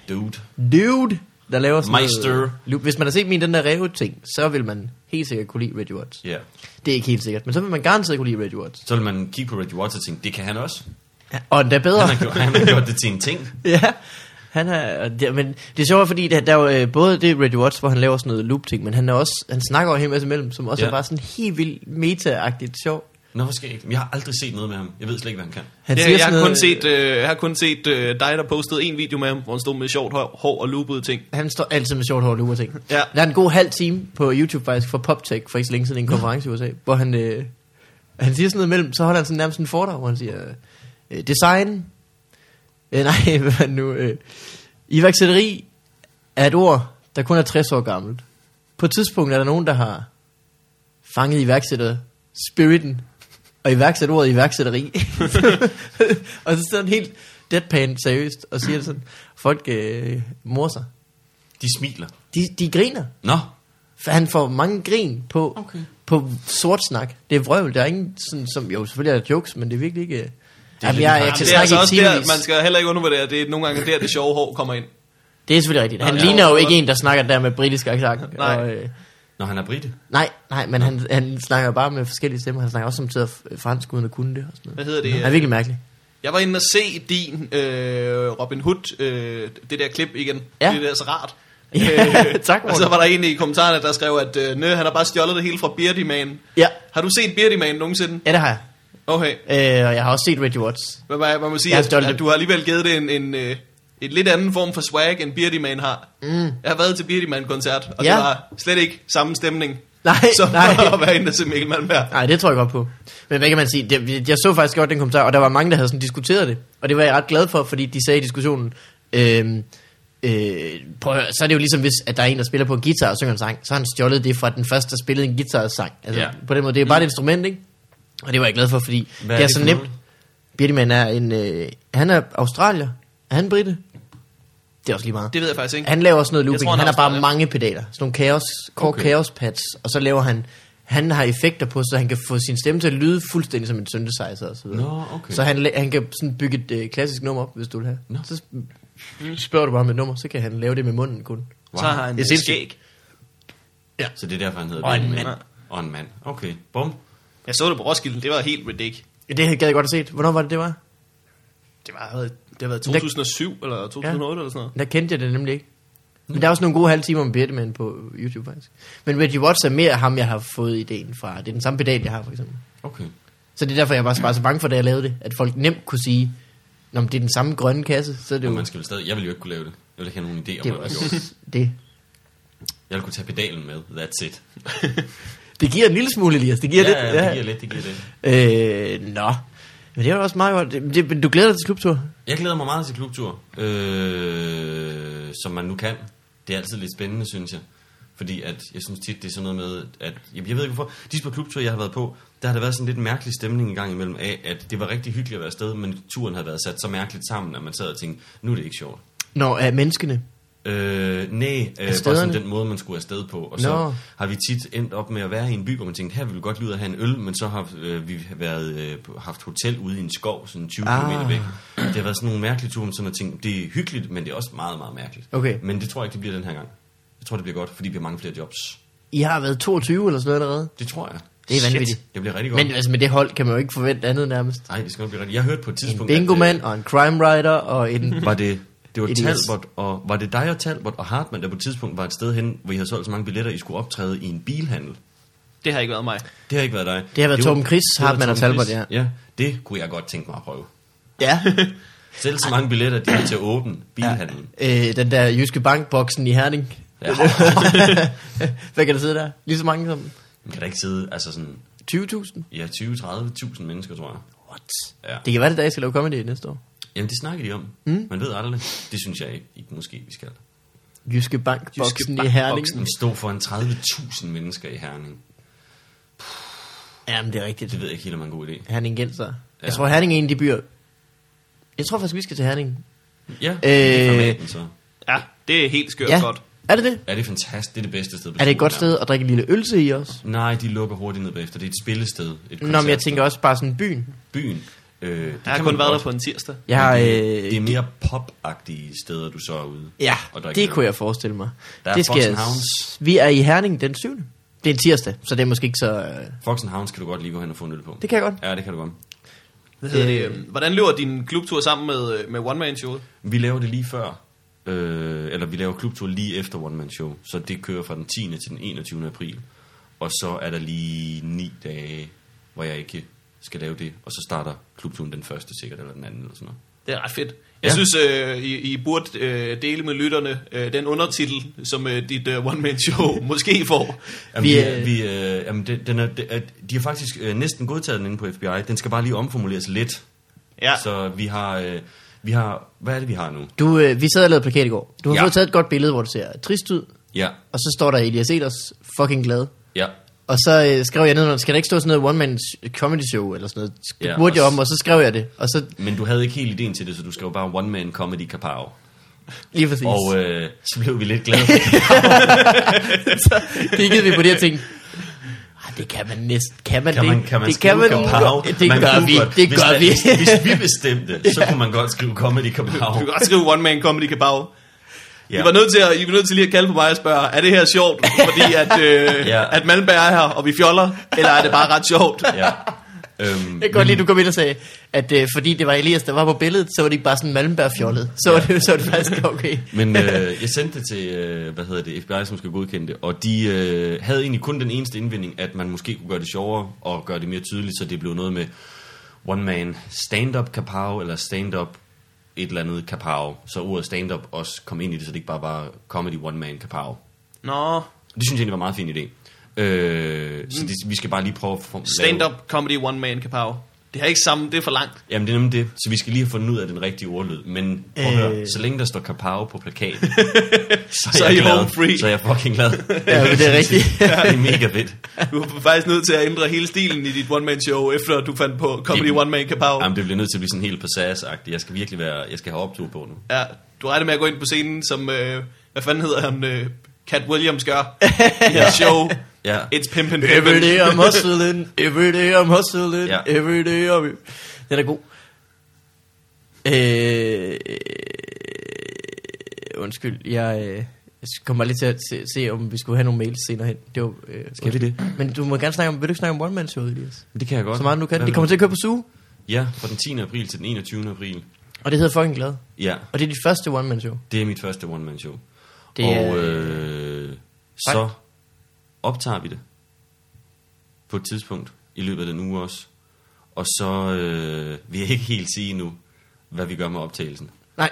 C: Dude.
A: dude, der laver sådan noget,
C: Meister.
A: Lu- Hvis man har set min den der rev-ting, så vil man helt sikkert kunne lide Reggie Watts.
C: Ja. Yeah.
A: Det er ikke helt sikkert, men så vil man garanteret kunne lide Reggie Watts.
C: Så vil man kigge på Reggie Watts og tænke, det kan han også.
A: Og endda bedre.
C: Han har gjort, han har gjort det til en ting.
A: Ja, han er, og det, men det er sjovt, fordi der, der er jo øh, både det Reggie Watts, hvor han laver sådan noget loop-ting, men han, er også, han snakker over en hel masse imellem, som også
C: Ja.
A: ja. er bare sådan helt vildt meta-agtigt sjov.
C: Nå, hvor skal jeg ikke? Jeg har aldrig set noget med ham. Jeg ved slet ikke, hvad han kan.
A: Han
B: Ja,
A: siger
B: jeg,
A: sådan
B: har kun
A: noget,
B: set, øh, jeg har kun set øh, dig, der postede en video med ham, hvor han stod med sjovt hår, hår og loopede ting.
A: Han står altid med sjovt hår og lurer ting.
B: Ja.
A: Der er en god halv time på YouTube faktisk for PopTech for ikke så længe siden i en konference i USA, hvor han, øh, han siger sådan noget imellem, så holder han sådan nærmest en foredrag, hvor han siger, øh, design, øh, nej, [LAUGHS] hvad er det nu, øh, iværksætteri er et ord, der kun er 60 år gammelt. På et tidspunkt er der nogen, der har fanget iværksætter spiriten og iværksat ordet iværksætteri. [LAUGHS] og så sidder han helt deadpan seriøst og siger det sådan, folk øh, mor sig.
C: De smiler.
A: De, de griner.
C: Nå.
A: For han får mange grin på,
C: Okay.
A: okay. på sort snak. Det er vrøvl. Der er ingen sådan, som... Jo, selvfølgelig er der jokes, men det er virkelig ikke... Det er, Jamen, jeg,
C: lidt
A: jeg
C: meget-
A: kan
B: Jamen, det er altså
A: snakke
B: også
A: i
B: der,
A: timevis.
B: man skal heller ikke undervurdere, det er nogle gange der, det sjove hår kommer ind.
A: Det er selvfølgelig rigtigt. Han
B: Ja,
A: ligner jo
B: ja.
A: ikke en, der snakker der med britisk accent.
B: Nej.
A: Og, øh,
C: Når han er brite.
A: nej, nej, men han, han snakker bare med forskellige stemmer. Han snakker også samtidig f- fransk uden at kunne det. Og sådan noget.
B: Hvad hedder det?
A: Han er virkelig mærkelig.
B: Jeg var inde og se din øh, Robin Hood, øh, det der klip igen.
A: Ja.
B: Det er så rart. Øh,
A: Ja, [LAUGHS] tak,
B: Og så
A: Morten.
B: var der en i kommentarerne, der skrev, at øh, nø, han har bare stjålet det hele fra Beardy Man.
A: Ja,
B: Har du set Beardy Man nogensinde?
A: ja, det har jeg.
B: Okay.
A: Øh, og jeg har også set Reggie Watts.
B: Men man, man må sige,
A: Jeg er
B: at,
A: stolt.
B: at du har alligevel givet det en, en, øh, en lidt anden form for swag, end Beardy Man har. Mm. Jeg har været til Beardy Man-koncert, og
A: Ja.
B: det var slet ikke samme stemning,
A: Nej,
B: [LAUGHS] som
A: nej.
B: at være inde og se Mikkel Malmberg.
A: Nej, det tror jeg godt på. Men hvad kan man sige? Det, jeg så faktisk godt den kommentar, og der var mange, der havde sådan diskuteret det. Og det var jeg ret glad for, fordi de sagde i diskussionen, øhm, øh, prøv at høre, så er det jo ligesom, hvis at der er en, der spiller på en guitar og synger en sang, så har han stjålet det fra den første, der spillede en guitar og sang. Altså,
B: Ja.
A: På den måde, det er jo bare et instrument, ikke? Og det var jeg glad for, fordi
C: Hvad
A: det er,
C: er det
A: så
C: for
A: nemt.
C: nogen?
A: Birtiman er en... Øh, han er australier. Er han brite? Det er også lige meget.
B: Det ved jeg faktisk ikke.
A: Han laver sådan noget looping.
B: tror,
A: Tror,
B: han
A: han
B: har
A: har bare
B: også-
A: mange pedaler. Sådan nogle chaos, core okay.
C: Okay.
A: chaos pads. Og så laver han... Han har effekter på, så han kan få sin stemme til at lyde fuldstændig som en synthesizer og så videre.
C: Nå, okay.
A: Så han, la- han kan sådan bygge et øh, klassisk nummer op, hvis du vil have.
C: Nå.
A: Så sp- spørger du bare om et nummer, så kan han lave det med munden kun.
B: Så har han
A: Det er
B: det
A: sindssygt.
B: skæg.
C: Så det er derfor, han hedder
A: Og en
C: Beardy Man.
B: mand.
C: Og en mand. Okay, bum.
B: Jeg så det på Roskilde, det var helt ridiculous.
A: Det gad jeg godt at set. Hvornår var det, det var? øh,
B: Det var, det har været
A: Der-
B: 2007 eller 2008 ja. eller sådan noget.
A: Der kendte jeg det nemlig ikke. Men der er også nogle gode halve timer med Birteman på YouTube faktisk. Men Reggie Watts er mere ham, jeg har fået ideen fra. Det er den samme pedal, jeg har for eksempel.
C: Okay.
A: Så det er derfor, jeg var så, bare så bange for, da jeg lavede det, at folk nemt kunne sige, Nå, men det er den samme grønne kasse, så er det
C: Men
A: jo...
C: man skal vel stadig... Jeg ville jo ikke kunne lave det. Jeg ville ikke have nogen idé om,
A: Det er jo
C: hvad jeg gjorde.
A: også det.
C: Jeg ville kunne tage pedalen med. That's it.
A: Det giver en lille smule, Elias. Det giver
C: ja,
A: lidt.
C: ja, det giver lidt, det giver lidt.
A: Øh, nå. Men det var da også meget godt. Det, det, men du glæder dig til klubtur?
C: Jeg glæder mig meget til klubtur, øh, som man nu kan. Det er altid lidt spændende, synes jeg. Fordi at, jeg synes tit, det er sådan noget med, at jeg, jeg ved ikke hvorfor, de på klubtur, jeg har været på, der har der været sådan lidt mærkelig stemning en gang imellem af, at det var rigtig hyggeligt at være afsted, men turen havde været sat så mærkeligt sammen, at man sad og tænkte, nu er det ikke sjovt.
A: Nå, af menneskene.
C: Øh, nej, øh, bare
A: stederne?
C: sådan den måde, man skulle afsted på. Og så
A: Nå.
C: har vi tit endt op med at være i en by, hvor man tænkte, her ville vi godt lyde at have en øl, men så har øh, vi været, øh, på- haft hotel ude i en skov, sådan 20
A: Ah.
C: ah. km væk. Det har været sådan nogle mærkelige ture, sådan at tænke, det er hyggeligt, men det er også meget, meget mærkeligt.
A: Okay.
C: Men det tror jeg ikke, det bliver den her gang. Jeg tror, det bliver godt, fordi vi har mange flere jobs.
A: I har været 22 eller sådan noget allerede.
C: Det tror jeg.
A: Det er
C: Shit.
A: vanvittigt.
C: Det bliver rigtig godt.
A: Men altså, med det hold kan man jo ikke forvente andet nærmest.
C: Nej, det skal nok blive rigtigt. Jeg hørte på et
A: En
C: tidspunkt, at, øh,
A: bingomand og en crime writer og
C: [LAUGHS]
A: en...
C: var det, det var
A: Elias.
C: Talbot og, var det dig og Talbot og Hartmann, der på et tidspunkt var et sted hen, hvor I havde solgt så mange billetter, I skulle optræde i en bilhandel.
B: Det har ikke været mig.
C: Det har ikke været dig.
A: Det har været
C: var-
A: Torben Chris,
C: det var
A: Hartmann og
C: Torben
A: Talbot,
C: Chris.
A: ja.
C: ja. det kunne jeg godt tænke mig at prøve.
A: Ja.
C: Selv så mange billetter, de er til åben bilhandlen.
A: øh, den der Jyske Bank-boksen i Herning.
C: Ja.
A: [LAUGHS] Hvad kan der sidde der? Lige så mange som
C: Man kan da ikke sidde, altså sådan,
A: 20.000?
C: ja, 20-30.000 mennesker, tror jeg.
A: What?
C: Ja.
A: Det kan være, det dag, jeg skal lave comedy næste år.
C: Jamen, det snakker de om. Mm. Man ved aldrig. Det synes jeg ikke, ikke måske, vi skal.
A: Jyske Bank
B: Jyske
A: Boksen i
B: Bank
A: Herning.
B: Boxen.
C: Man står foran 30.000 mennesker i Herning.
A: Jamen, det er rigtigt.
C: Det ved jeg ikke helt, om er en god idé.
A: Herning Genser. Ja.
C: Ja.
A: Jeg tror, Herning er en af de byer. Jeg tror faktisk, vi skal til Herning.
C: Ja, det er
A: Øh,
C: formaten, så.
B: Ja, det er helt skørt
A: ja.
B: ja. godt.
A: Er det det?
C: Ja, det er fantastisk. Det er det bedste sted. på
A: Er det et
C: skolen
A: godt
C: her.
A: sted at drikke en lille øl til i også?
C: Nej, de lukker hurtigt ned bagefter. Det er et spillested. Et
A: Nå, men jeg
C: koncertsted.
A: tænker også bare sådan byen.
C: Byen. Øh, det
B: Jeg har
C: kan
B: kun
C: man
B: været
C: godt.
B: der på en tirsdag.
A: Jeg har,
C: Men
A: øh,
C: det, det er mere pop-agtige steder, du så er ude.
A: ja,
C: og drikke
A: det
C: øl.
A: kunne jeg forestille mig.
C: Der er
A: det skal jeg,
C: Foxen Hounds.
A: Vi er i Herning den 7. Det er en tirsdag, så det er måske ikke så... øh,
C: Foxen Hounds kan du godt lige gå hen og få en øl på.
A: Det kan jeg godt.
C: Ja, det kan du godt.
B: Hvad hedder det? øhm, Hvordan løber din klubtur sammen med, øh, med One Man Showet?
C: Vi laver det lige før, øh, eller vi laver klubtur lige efter One Man Show, så det kører fra den 10. til den 21. april. Og så er der lige ni dage, hvor jeg ikke skal lave det, og så starter klubturen den første sikkert, eller den anden, eller sådan noget.
B: Det er ret fedt. Jeg
C: Ja.
B: synes, øh, I, I burde øh, dele med lytterne øh, den undertitel, som øh, dit øh, One Man [LAUGHS] Show måske får.
C: Jamen,
A: Vi
C: vi,
A: er-
C: er, vi, øh, jamen det, den er, det, er, de har faktisk øh, næsten godtaget den inde på FBI. Den skal bare lige omformuleres lidt.
B: Ja.
C: Så vi har, øh, vi har, hvad er det, vi har nu?
A: Du, øh, vi sad og lavede plakat i går. Du har
C: Ja.
A: fået taget et godt billede, hvor du ser trist ud,
C: Ja,
A: og så står der Elias Eders fucking glad.
C: ja.
A: Og så øh, skrev jeg ned, skal der ikke stå sådan noget one-man comedy show eller sådan noget? Det
C: Ja,
A: burde jeg
C: og
A: om, og så skrev jeg det. Og så
C: Men du havde ikke helt ideen til det, så du skrev bare One Man Comedy Kapow.
A: lige præcis.
C: Og øh, så blev vi lidt glade. for det.
A: [LAUGHS]
C: øh,
A: kiggede vi på det og tænkte, "Ej, Ah, det kan man næsten, kan man
C: Kan
A: det?
C: man, kan man
A: det
C: skrive
A: kan man,
C: Kapow?
A: godt. det
C: Man
A: gør
C: kunne
A: vi,
C: godt.
A: det
C: hvis,
A: gør vi.
C: Hvis, hvis vi bestemte, så kunne man godt skrive Comedy Kapow.
B: Du kan godt skrive One Man Comedy Kabau. Ja. I,
C: Ja.
B: var nødt til at, I var nødt til lige at kalde på mig og spørge, er det her [LAUGHS] sjovt, fordi at, øh,
C: Ja.
B: ja. at Malmberg er her, og vi fjoller, eller er det bare ret sjovt?
C: Ja. Øhm,
A: [LAUGHS] Jeg kan godt lide, du kom ind og sagde, at øh, fordi det var Elias, der var på billedet, så var det ikke bare sådan Malmberg-fjollet. Så, var det, så var det faktisk okay.
C: Men øh, jeg sendte det til, øh, hvad hedder det, FBI, som skulle godkende det, og de øh, havde egentlig kun den eneste indvending, at man måske kunne gøre det sjovere og gøre det mere tydeligt, så det blev noget med, one man stand-up kapow, eller stand-up et eller andet kapow. Så ordet stand-up også kom ind i det, så det ikke bare var comedy one man kapow.
B: Nå,
C: Det synes jeg egentlig var en meget fin idé. Øh, så det, vi skal bare lige prøve at få- lave-
B: stand-up comedy one man kapow. Det har ikke sammen, det er for langt.
C: Jamen det er nemlig det, så vi skal lige have fundet ud af den rigtige ordlyd. Men prøv at høre,
A: Øh.
C: så længe der står kapow på
A: [LAUGHS]
C: plakaten, så,
B: Så
C: er
B: er I
C: jeg glad.
B: home free.
C: Så er jeg fucking glad.
A: Ja, men det er rigtigt.
C: [LAUGHS] det er mega
A: [LAUGHS]
C: fedt.
B: Du er faktisk nødt til at ændre hele stilen i dit one-man-show, efter du fandt på comedy
C: Jamen.
B: one-man kapow.
C: Jamen det bliver nødt til at blive sådan helt passage-agtigt. Jeg skal virkelig være, jeg skal have optur på nu.
B: Ja, du regner med at gå ind på scenen, som, øh, hvad fanden hedder han, øh, Cat Williams gør i hans
C: [LAUGHS]
B: show.
C: Ja.
B: It's Pimpin'
A: Every
B: Pimpin'.
A: day
C: [LAUGHS]
A: I'm
B: [LAUGHS]
A: hustling, every day I'm hustling,
C: Ja.
A: yeah. every day I'm... Den er god. Øh, undskyld, jeg, øh, jeg kommer lige til at se, se, om vi skulle have nogle mails senere hen. Det var, øh, Skal
C: vi det?
A: Men du må gerne snakke om, vil du ikke snakke om One Man Show, Elias?
C: Men det kan jeg godt.
A: Så meget du kan.
C: Hvad
A: Det
C: vil
A: kommer til at køre på suge,
C: du? Ja, fra den 10. april til den 21. april.
A: og det hedder fucking glad.
C: Ja,
A: Og det er dit første One Man Show.
C: det er mit første one-man-show.
A: Det er-
C: og øh, så optager vi det på et tidspunkt i løbet af den uge også. Og så øh, vil jeg ikke helt sige nu, hvad vi gør med optagelsen.
A: Nej,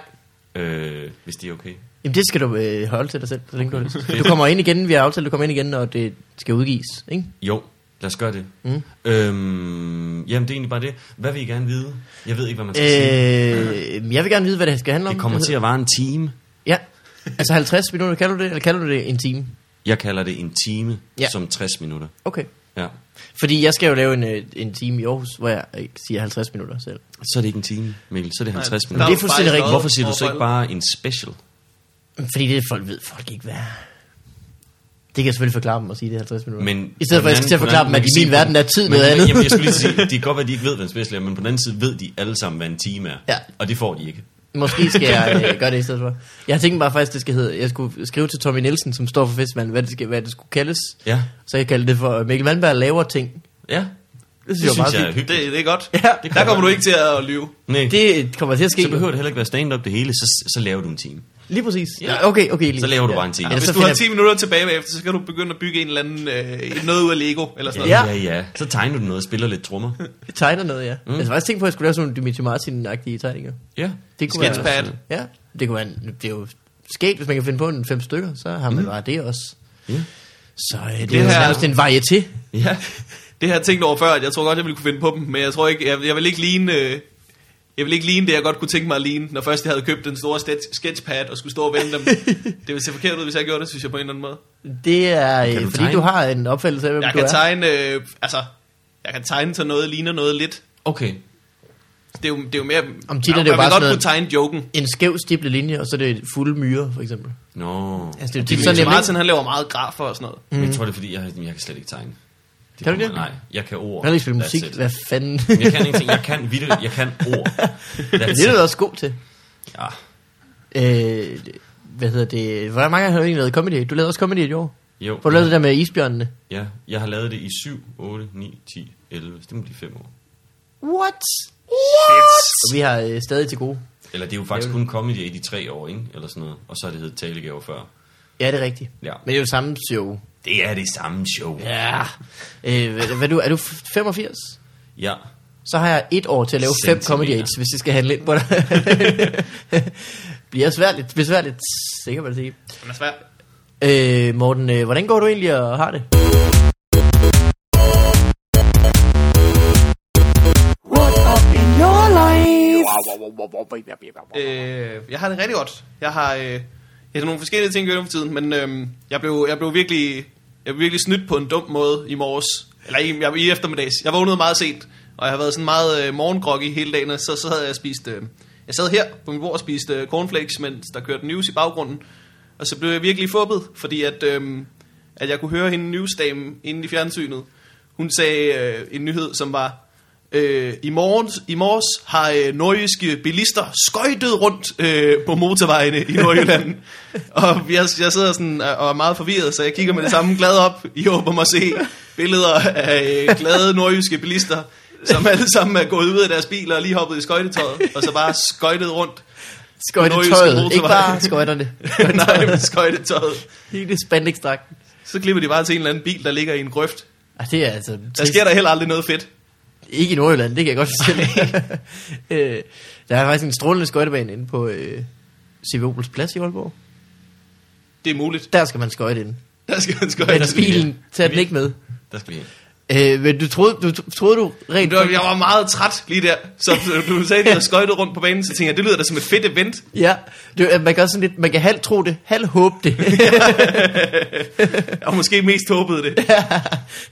C: Øh, hvis det er okay.
A: Jamen det skal du øh, holde til dig selv, så længe du har lyst. Du kommer ind igen, vi har aftalt, du kommer ind igen, når det skal udgives, ikke?
C: Jo, lad os gøre det.
A: Mm.
C: Øhm, jamen, det er egentlig bare det. Hvad vil I gerne vide? Jeg ved ikke, hvad man skal øh, sige.
A: Øh, jeg vil gerne vide, hvad det skal handle om. Altså,
C: Det kommer til at vare en time.
A: Ja. Altså 50 minutter, kalder du det? Eller kalder du det en time?
C: Jeg kalder det en time
A: Ja.
C: ja. som 60 minutter.
A: Okay.
C: Ja.
A: Fordi jeg skal jo lave en, øh, en time i Aarhus, hvor jeg øh, siger 50 minutter selv.
C: Så er det ikke en time, Mikkel. Så er det 50
B: Nej,
C: minutter.
A: det er fuldstændig
B: faktisk
A: rigtigt.
B: noget
C: Hvorfor siger du så ikke
B: overfald.
C: bare en special?
A: Fordi det folk ved folk ikke, hvad er. Det kan jeg selvfølgelig forklare dem og sige, det er 50 minutter.
C: Men
A: I stedet for, at jeg skal til at forklare dem, at i min verden er tid noget andet.
C: Jamen,
A: [LAUGHS]
C: jeg skulle lige sige, det kan godt være, at de ikke ved, hvad en special er, men på den anden side ved de alle sammen, hvad en time er.
A: Ja.
C: Og det får de ikke.
A: Måske skal jeg øh, gøre det i stedet for. Jeg tænkte bare faktisk, det skal hedde, jeg skulle skrive til Tommy Nielsen, som står for festivalen, hvad det, skal, hvad det skulle kaldes.
C: Ja.
A: Så jeg kalder det for øh, Mikkel Vandberg laver ting.
C: Ja.
A: Det synes,
C: Det
A: jeg er
C: synes jeg
A: meget
C: er
A: fint.
B: Det,
C: hyggeligt.
B: det er godt.
A: Ja.
B: Det der kommer du ikke til at lyve.
C: Nej. Det,
A: Det kommer til at ske.
C: så behøver det heller ikke være stand-up det hele, så, så laver du en time.
A: Lige præcis.
C: Ja.
A: Ja. Okay, okay. Lige.
C: Så laver du bare en time.
A: Ja, Altså,
B: Hvis
A: så
B: du har
A: finder
B: 10 minutter tilbage bagefter, så kan du begynde at bygge en eller anden, øh, noget ud af Lego, eller sådan
A: Ja.
C: ja, ja. Så tegner du noget og spiller lidt trommer.
A: jeg tegner noget, ja. Mm. Jeg havde faktisk tænkt på, at jeg skulle lave sådan nogle Dimitri Martin-agtige tegninger.
C: Ja.
A: Det kunne
B: Sketchpad.
A: være, ja, det kunne være, en- det er jo skægt, hvis man kan finde på en fem stykker, så har man mm. bare det også.
C: Ja.
A: Så øh, det, det
B: Det
A: er jo
B: her-
A: nærmest en varieté.
C: Ja.
B: [LAUGHS] Det har jeg tænkt over før, at jeg tror godt, jeg ville kunne finde på dem, men jeg tror ikke, jeg, jeg vil ikke ligne... Øh, jeg vil ikke ligne det, jeg godt kunne tænke mig at ligne, når først jeg havde købt den store stet- sketchpad og skulle stå og
A: [LAUGHS]
B: vende dem. det ville se forkert ud, hvis jeg gjorde det, synes jeg på en eller anden måde.
A: Det er,
C: Kan
A: øh,
C: du
A: fordi
C: tegne?
A: du har en opfattelse af, hvem
B: Jeg
A: du
B: kan
A: er.
B: tegne, øh, altså, jeg kan tegne så noget, ligner noget lidt.
C: Okay.
B: Det er jo, det er jo mere...
A: Om tit er
B: Ja,
A: det jo bare
B: man vil godt
A: sådan noget-
B: kunne tegne joken.
A: En skæv stiplet linje, og så er det fulde myre, for eksempel.
C: Nå.
A: Altså, det er jo
B: Det
A: tit
B: er
A: sådan,
B: sådan,
A: jeg
B: Martin, han laver meget grafer og sådan noget.
C: Mm. Jeg tror, det er fordi, jeg, jeg kan slet ikke tegne. Det
A: Kan du
C: kommer-
A: ikke?
C: Nej, jeg kan ord.
A: Jeg kan ikke spille
C: That's
A: musik,
C: it.
A: hvad fanden.
C: Men Jeg kan ingenting. Jeg kan vildt, jeg kan ord. That's
A: [LAUGHS] det er du
C: it. Ah.
A: også god til.
C: Ja.
A: Øh, hvad hedder det? Hvor mange gange har du egentlig lavet comedy? Du lavede også comedy i år.
C: Jo.
A: Hvor du lavede det der med isbjørnene.
C: Ja, jeg har lavet det i 7, 8, 9, 10, 11. Så det må blive 5 år.
A: What? Og vi har øh, stadig til gode.
C: Eller det er jo faktisk kun comedy i de 3 år, ikke? Eller sådan noget. Og så har det heddet talegaver før.
A: Ja, det er rigtigt.
C: Ja.
A: Men det er jo samme show.
C: Det er det samme show. Ja.
A: Ja. Øh, hvad, hvad er du, er du 85?
C: ja.
A: Så har jeg et år til at lave fem
C: Centimeter.
A: comedy aids, hvis jeg skal handle ind på dig. [LAUGHS] Bliver svært, besværligt, det kan man sige.
B: Den er svær.
A: Øh, Morten, øh, hvordan går du egentlig og har det?
D: What up in your life?
B: Øh, jeg har det rigtig godt. Jeg har, øh, jeg har nogle forskellige ting gjort for tiden, men øh, jeg, blev, jeg blev virkelig jeg blev virkelig snydt på en dum måde i morges. Eller i, jeg, i eftermiddags. Jeg vågnede meget sent, og jeg har været sådan meget øh, morgengrog i hele dagen, og så, så havde jeg spist... Øh, jeg sad her på mit bord og spiste øh, cornflakes, mens der kørte news i baggrunden. Og så blev jeg virkelig fubbet, fordi at, øh, at jeg kunne høre hende newsdame inde i fjernsynet. Hun sagde øh, en nyhed, som var... Øh, i, morgen, I morges har øh, nordjyske bilister skøjtet rundt øh, på motorvejene i
A: [LAUGHS]
B: Nordjylland. og jeg, jeg sidder sådan øh, og og er meget forvirret, så jeg kigger med det samme glad op i håb om at se billeder af øh, glade nordjyske bilister, som alle sammen er gået ud af deres biler og lige hoppet i skøjtetøjet, og så bare skøjtet
A: [LAUGHS]
B: rundt.
A: Skøjtetøjet, ikke
B: motorvej.
A: bare skøjterne.
B: [LAUGHS] Nej, men skøjtetøjet.
A: Hele spandekstrakten.
B: Så klipper de bare til en eller anden bil, der ligger i en grøft.
A: Ah, det er altså...
B: Der sker der heller aldrig noget fedt.
A: Ikke i Nordjylland, det kan jeg godt fortælle. [LAUGHS] øh, der er faktisk en strålende skøjtebane inde på øh, Sivopels Plads i Aalborg.
B: Det er muligt.
A: Der skal man skøjte ind.
B: Der skal han skøjte.
A: Men bilen, tag den ikke med.
C: Der skal vi hen.
A: Øh, men du troede, du, troede du rent...
B: Det var, jeg var meget træt lige der. Så du sagde, at jeg skøjtede rundt på banen, så tænkte jeg, det lyder da som et fedt event.
A: Ja, det, øh, man kan også sådan lidt, man kan halvt tro det, halvt håbe
B: [LAUGHS]
A: det.
B: Og måske mest håbede det.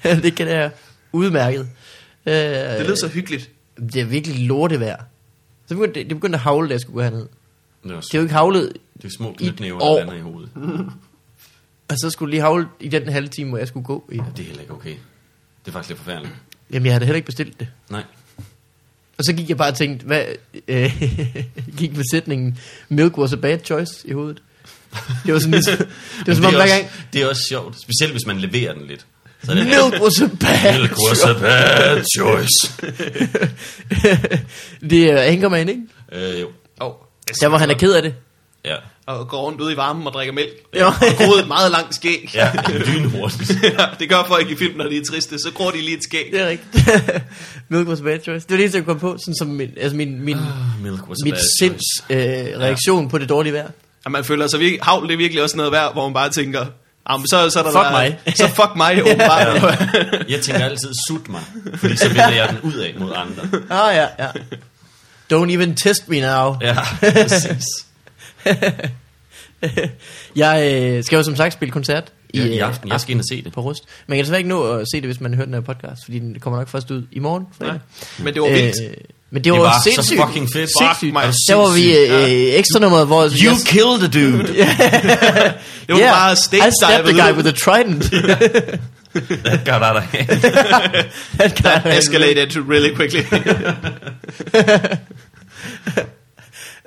A: det kan være udmærket. Øh,
B: Det lød så hyggeligt.
A: det er virkelig lortevejr. Så begyndte, det, det begyndte at havle, da jeg skulle gå herned.
C: Det er,
A: Det er
C: også,
A: jo ikke havlet,
C: det er små
A: et
C: knytnæver,
A: år. Mm.
C: der lander i hovedet.
A: og så skulle det lige havle i den halve time, hvor jeg skulle gå i.
C: Det er heller ikke okay. Det er faktisk lidt forfærdeligt.
A: Jamen, jeg havde heller ikke bestilt det.
C: Nej.
A: Og så gik jeg bare og tænkte, hvad, øh, [LAUGHS] gik med sætningen, milk was a bad choice i hovedet. Det var sådan,
C: [LAUGHS]
A: ligesom, det var
C: Men
A: som om
C: det,
A: hver
C: er
A: gang,
C: også, det er også sjovt. Specielt hvis man leverer den lidt. Så er det
A: milk was a bad [LAUGHS]
C: [LAUGHS] Milk was a bad choice.
A: det er Anchorman, ikke?
C: Øh, jo.
B: Oh.
A: Der hvor han er ked af det.
C: Ja.
B: Og går rundt ude i varmen og drikker mælk.
A: Ja.
B: Ja. Og groede et meget langt skæg.
C: Ja,
A: [LAUGHS]
C: lynhurtigt.
B: Ja, det gør folk i film, når de er triste. Så gror de lige et skæg.
A: Det er rigtigt. [LAUGHS] milk was a bad choice. Det var det eneste, jeg kunne komme på, sådan som min, altså min, min,
C: Ah, Milk was a
A: mit
C: bad
A: sinds
C: choice.
A: øh, reaktion på det dårlige vejr.
B: Og man føler sig virkelig, havl, det er virkelig også noget værd, hvor man bare tænker, ah, men så, så er der
A: Fuck
B: der,
A: mig."
B: Så fuck
A: [LAUGHS]
B: mig, åbenbart.
C: Jeg tænker altid, sut mig, fordi så vender jeg den ud af mod andre.
A: Ah, ja, ja. Don't even test me now.
C: Ja, præcis.
A: [LAUGHS] jeg øh, skal jo som sagt spille koncert
C: I,
A: øh,
C: I aften, jeg skal ind og se det.
A: på Rust. Man kan desværre ikke nå at se det, hvis man hører den her podcast, fordi den kommer nok først ud i morgen. fredag.
B: Men det var vildt.
A: Øh, men det var,
C: Det var så
A: sindssygt.
C: fucking fedt.
B: Fuck mig.
A: Der var vi øh, ekstra nummeret, hvor...
C: You killed the
A: [LAUGHS]
C: dude.
B: Det var bare stage
A: I stabbed the guy with the trident. [LAUGHS]
C: That got out of hand.
A: That guy
B: That escalated really quickly.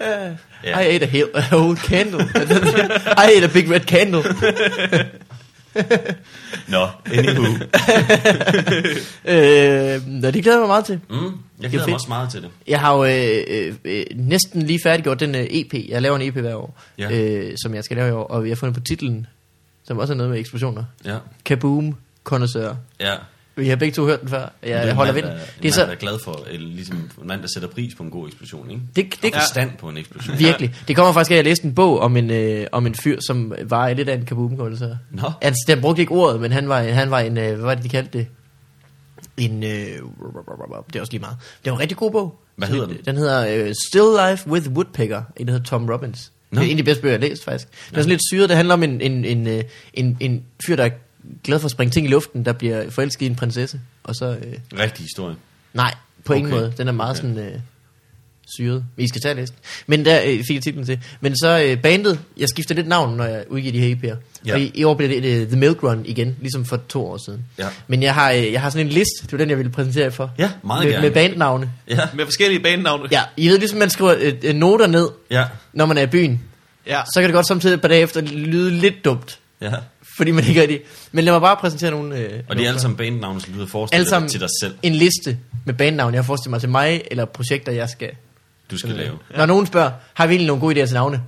C: Ja.
A: I ate a hel- a whole candle. [LAUGHS] I ate a big red candle.
C: Nå,
A: [LAUGHS]
C: anywho. Mm,
A: Øh, nå, det glæder jeg mig meget til.
C: Mm, jeg
A: Det er
C: glæder mig
A: fedt.
C: også meget til det.
A: Jeg har jo øh, øh, øh, næsten lige færdiggjort den øh, EP. Jeg laver en EP hver år,
C: Ja.
A: øh, som jeg skal lave i år. Og jeg har fundet på titlen, som også er noget med eksplosioner.
C: Ja,
A: Kaboom, kondensør.
C: ja.
A: Vi har begge to hørt den før. Jeg
C: Det er
A: det holder
C: en
A: ved
C: mand,
A: den.
C: der-
A: Det er
C: en mand, der
A: så...
C: er glad for, eller ligesom en mand, der sætter pris på en god eksplosion, ikke?
A: Det, det,
C: Og forstand på en
A: [LAUGHS]
C: eksplosion.
A: Virkelig. Det kommer faktisk af, at jeg læste en bog om en, øh, om en fyr, som var lidt af en kaboomkondensør.
C: Nå.
A: Altså, den brugte ikke ordet, men han var, han var en, øh, hvad var det, de kaldte det? En, øh, det er også lige meget. Det var en rigtig god bog.
C: Hvad
A: Sådan
C: hedder
A: en-
C: den?
A: Den hedder øh, Still Life with Woodpecker. En, der hedder Tom Robbins.
C: Nå.
A: Det er en af de bedste bøger, jeg har læst, faktisk. Den er sådan lidt syret. Det handler om en, en, en, øh, en, en fyr, der er glad for at springe ting i luften, der bliver forelsket i en prinsesse. Og så, øh,
C: Rigtig historie.
A: nej, på ingen
C: Okay.
A: måde. Den er meget
C: Okay.
A: sådan... Øh, syret. Vi skal tage listen. Men der øh, fik jeg titlen til. Men så øh, bandet, jeg skifter lidt navn, når jeg udgiver de her EP'er.
C: Ja.
A: Ja. Fordi i år bliver det øh, The Milk Run igen, ligesom for to år siden.
C: Ja.
A: Men jeg har, øh, jeg har sådan en liste, det var den, jeg ville præsentere jer for.
C: Ja, meget
A: med,
C: gerne.
A: Med bandnavne.
C: Ja,
B: Med forskellige banenavne.
A: Ja, I ved ligesom, man skriver øh, øh, noter ned,
C: ja,
A: når man er i byen.
B: ja.
A: Så kan det godt samtidig et par dage efter lyde lidt dumt,
C: ja.
A: fordi man ikke rigtig... Men lad mig bare præsentere nogle... Øh,
C: Og det er alle sammen bandnavne, som du har
A: alle sammen
C: forestillet til dig selv,
A: en liste med bandnavne, jeg forestiller mig til mig, eller projekter, jeg skal
C: du skal lave.
A: Ja. Når nogen spørger, har vi egentlig nogle gode idéer til navne?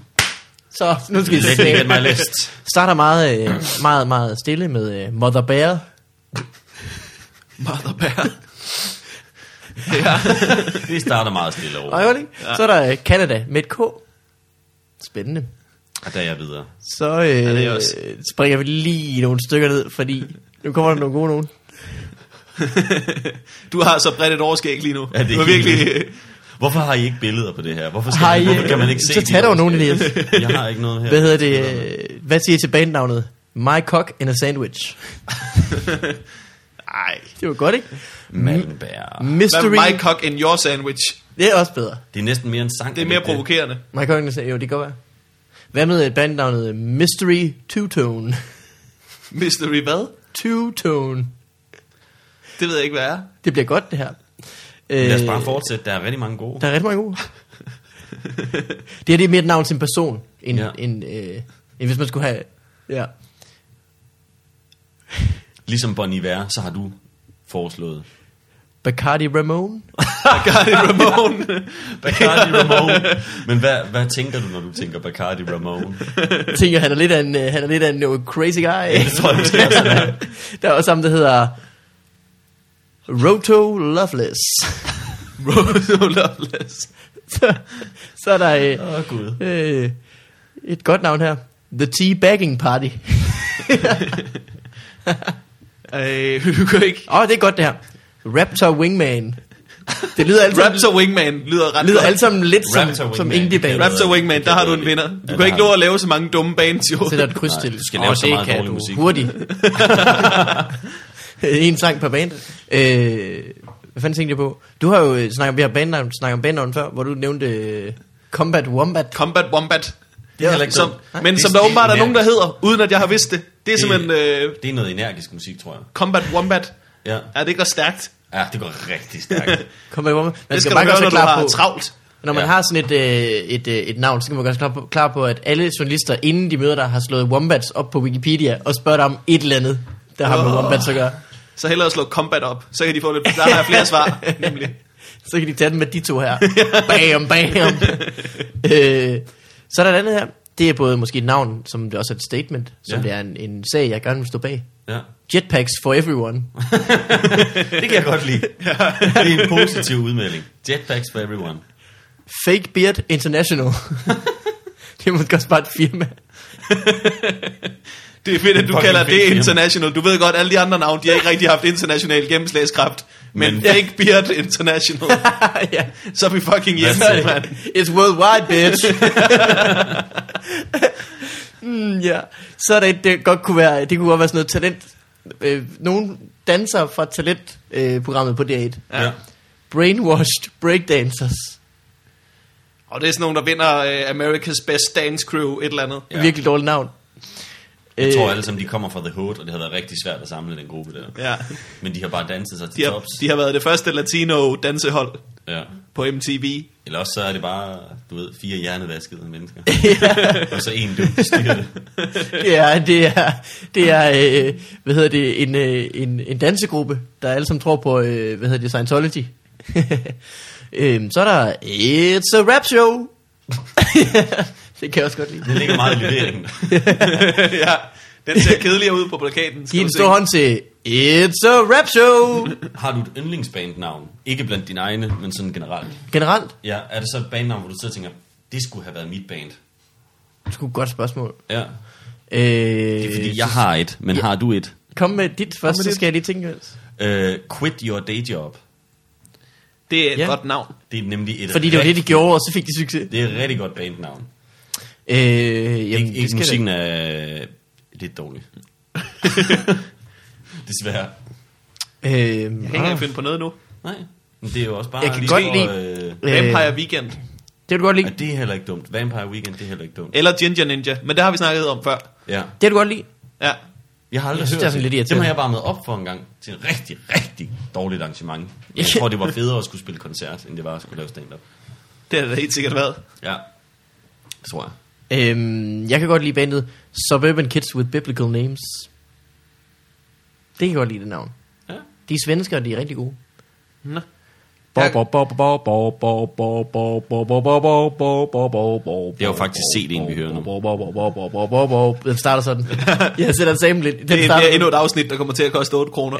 A: Så nu skal I [LAUGHS]
C: Let me get my
A: se.
C: list.
A: Starter meget, øh, meget, meget stille med øh, Mother Bear.
B: Mother Bear.
C: Det starter meget stille og
A: Og
C: roligt,
A: jeg ved det ikke. Så er der øh, Canada med et K. Spændende.
C: og der er jeg videre.
A: Så øh,
B: det er
A: ja,
B: også-
A: springer vi lige nogle stykker ned, fordi nu kommer der nogle gode nogen.
B: [LAUGHS] Du har så bredt et overskæg lige nu.
C: Ja, det er
B: du er
C: helt
B: virkelig...
C: Hvorfor har I ikke billeder på det her? Hvorfor, skal
A: Har
C: I,
A: I,
C: hvorfor kan man
A: øh,
C: ikke se
A: så
C: de
A: tag dog nogle,
C: overskrifter?
A: Elias.
C: [LAUGHS] Jeg har ikke noget her.
A: Hvad hedder det? Øh, hvad siger I til bandnavnet? My cock in a sandwich.
B: Ej.
A: Det var godt, ikke?
C: Malmbær.
B: Hvad
A: Mystery.
B: med my cock in your sandwich?
A: Det er også bedre.
C: Det er næsten mere en sang.
B: Det er
C: end
B: mere
C: det.
B: provokerende.
A: My cock in a sandwich. Jo, det kan godt være. Hvad med bandnavnet Mystery Two-Tone?
B: Mystery hvad?
A: Two-Tone.
B: Det ved jeg ikke, hvad er.
A: Det bliver godt, det her. Øh,
C: Lad os bare fortsætte. Der er rigtig mange gode.
A: Der er rigtig mange gode. [LAUGHS] det her det er mere et navn til en person, end,
C: Ja.
A: ja. end, øh, end hvis man skulle have... Ja.
C: Ligesom Bon Iver, så har du
B: [LAUGHS]
C: foreslået.
A: Bacardi Ramon.
B: Bacardi Ramon.
C: Bacardi Ramon. Men hvad, hvad tænker du, når du tænker Bacardi Ramon?
A: Jeg tænker, han er lidt af en, øh, han er lidt af en øh, crazy guy. [LAUGHS]
C: Jeg tror, jeg måske også, han er.
A: der er også ham, der hedder Roto Loveless. [LAUGHS]
B: Roto Loveless.
A: så, så er der
C: Åh, oh, Gud.
A: øh, øh, et godt navn her. The Tea Bagging Party.
B: Øh, [LAUGHS] du kan ikke...
A: Åh, oh, det er godt det her. Raptor Wingman. Det lyder alt sammen,
B: Raptor Wingman lyder ret
A: Altså- lyder
B: godt.
A: alt sammen lidt
C: Raptor
A: som, som
C: Wingman,
A: indie band.
C: det kan
B: Raptor Wingman, der har du en vinder. Du
C: Ja,
B: kan
C: det
B: ikke
C: har
B: lov
C: vi.
B: at lave så mange dumme bands, jo.
A: Sætter et kryds til.
C: du skal
A: Åh,
C: lave så
A: det
C: meget
A: kan
C: dårlig
A: du.
C: musik.
A: Hurtigt. en sang per band. Øh, hvad fanden tænkte jeg på? Du har jo øh, snakket om, vi har bandnavn, snakket om bandnavn før, hvor du nævnte øh, Combat Wombat.
B: Combat Wombat.
C: Det er heller ikke
B: Som,
C: dumt.
B: men
C: Det
B: som
C: er
B: der
C: sådan
B: åbenbart er nogen, der
C: energi-
B: hedder, uden at jeg har vidst det. Det er simpelthen øh,
C: Det er noget energisk musik, tror jeg.
B: Combat Wombat.
C: Ja.
B: Ja, det går stærkt.
C: Ja, det går rigtig stærkt.
A: [LAUGHS] Combat Wombat. Man
B: Det skal
A: bare
B: du
A: gøre
B: gøre,
A: sig
B: når du
A: klar
B: har
A: på-
B: travlt.
A: Når man ja.
C: Ja.
A: har sådan et, øh, et, øh, et navn, så kan man godt klar på, klar på, at alle journalister, inden de møder dig, har slået Wombats op på Wikipedia og spørger dig om et eller andet, der har med
B: Åh.
A: Wombats at gøre.
B: Så hellere slå Combat op. Så kan de få lidt... Der har jeg flere
C: [LAUGHS]
B: svar, nemlig.
A: Så kan de tage den med de to her. Bam, bam. øh, så er der et andet her. Det er både måske et navn, som det også er et statement, som
C: Ja.
A: det er en, en sag, jeg gerne vil stå bag.
C: Ja.
A: Jetpacks for everyone.
C: Det kan jeg godt lide. Det er en positiv udmelding. Jetpacks for everyone.
A: Fake Beard International. det er måske også bare et firma. [LAUGHS]
B: Det er fedt, at du
C: Fucking
B: kalder
C: fedt,
B: det
C: jamen.
B: international. Du ved godt, alle de andre navne, de har ikke rigtig haft international gennemslagskraft. Men,
C: Men-
B: Fake Beard
C: [LAUGHS]
B: International.
A: ja.
B: så er vi fucking hjemme,
C: Hvad
B: mand.
A: It's worldwide, bitch. [LAUGHS] mm, ja. Så er det, et, det godt kunne være, det kunne godt være sådan noget talent. Øh, nogle danser fra talentprogrammet øh, programmet på D8.
C: Ja.
A: Brainwashed breakdancers.
B: Og det er sådan nogen, der vinder uh, America's Best Dance Crew, et eller andet.
A: Ja. Virkelig dårligt navn. Øh,
C: Jeg tror alle sammen, de kommer fra The Hood, og det har været rigtig svært at samle den gruppe der.
B: Ja.
C: Men de har bare danset sig
B: De
C: til
B: har,
C: tops.
B: de har været det første latino-dansehold
C: Ja.
B: på
C: [LAUGHS]
B: MTV.
C: Eller også så er det bare, du ved, fire hjernevaskede [LAUGHS] mennesker. og så en dum, der styrer det.
A: [LAUGHS] det er, det er, det er øh, hvad hedder det, en, øh, en, en dansegruppe, der alle sammen tror på, øh, hvad hedder det, Scientology. [LAUGHS] øhm, så er der It's a Rap Show. [LAUGHS] det kan jeg også godt lide.
C: Det ligger meget i leveringen.
B: [LAUGHS] ja, den ser kedeligere ud på plakaten. skal
A: Giv en
B: du se.
A: stor hånd til It's a Rap Show.
C: Har du et yndlingsbandnavn? Ikke blandt dine egne, men sådan generelt.
A: Generelt,
C: Ja, er det så et bandnavn, hvor du sidder og tænker, det skulle have været mit band?
A: sgu et godt spørgsmål.
C: Ja.
A: Øh,
C: Det er fordi, jeg har et, men har du et?
A: Kom med dit først, så
B: dit.
A: skal jeg lige tænke imens.
C: Øh, quit your day job.
B: Det er et
A: Ja.
B: ja. godt navn.
C: Det er nemlig et
A: Fordi det var det, de
C: rigtig,
A: gjorde, og så fik de succes.
C: det er et rigtig godt bandnavn.
A: Øh, jamen,
C: Ikke,
A: det
C: ikke
A: skal
C: musikken er øh, lidt dårlig. Desværre.
A: da- Øh,
B: Jeg kan ikke
C: Ah.
B: engang finde på noget nu.
C: Nej. Men det er jo også bare...
A: Jeg kan
C: lige
A: godt
C: for,
A: lide-
C: Øh,
B: Vampire Weekend.
A: det vil du godt lide.
C: ja, det er heller ikke dumt. Vampire Weekend, det er heller ikke dumt.
B: Eller Ginger Ninja. Men det har vi snakket om før.
C: Ja.
A: Det vil du godt lide.
B: Ja.
C: Jeg har aldrig
A: Jeg synes, det er
C: hørt
A: sådan lidt
C: det.
A: irriterende.
C: Dem har jeg varmet op for en gang til en rigtig, rigtig dårligt arrangement. Men Jeg
A: Ja.
C: tror, det var federe at skulle spille koncert, end det var at skulle lave stand-up.
B: Det har det helt sikkert været.
C: Ja. Det tror jeg.
A: Øhm, jeg kan godt lide bandet Suburban Kids with Biblical Names. Det kan jeg godt lide det navn.
C: Ja.
A: De er svensker, og de er rigtig gode.
B: Nå.
A: Bo-
B: Jeg-
A: bo- bo- bo- bo- bo- bo- bo- bo- bo- bo- bo- bo- bo- bo- bo-
C: Det er jo
A: bo-
C: faktisk
A: bo-
C: CD'en, vi
A: bo-
C: hører nu.
A: bo- bo- bo- bo- bo- bo- bo- bo- Den starter
B: [LAUGHS]
A: sådan. Jeg sætter sammen lidt. Den
B: Det er
A: starter Øh,
B: bliver endnu et afsnit, der kommer til at koste 8 kroner.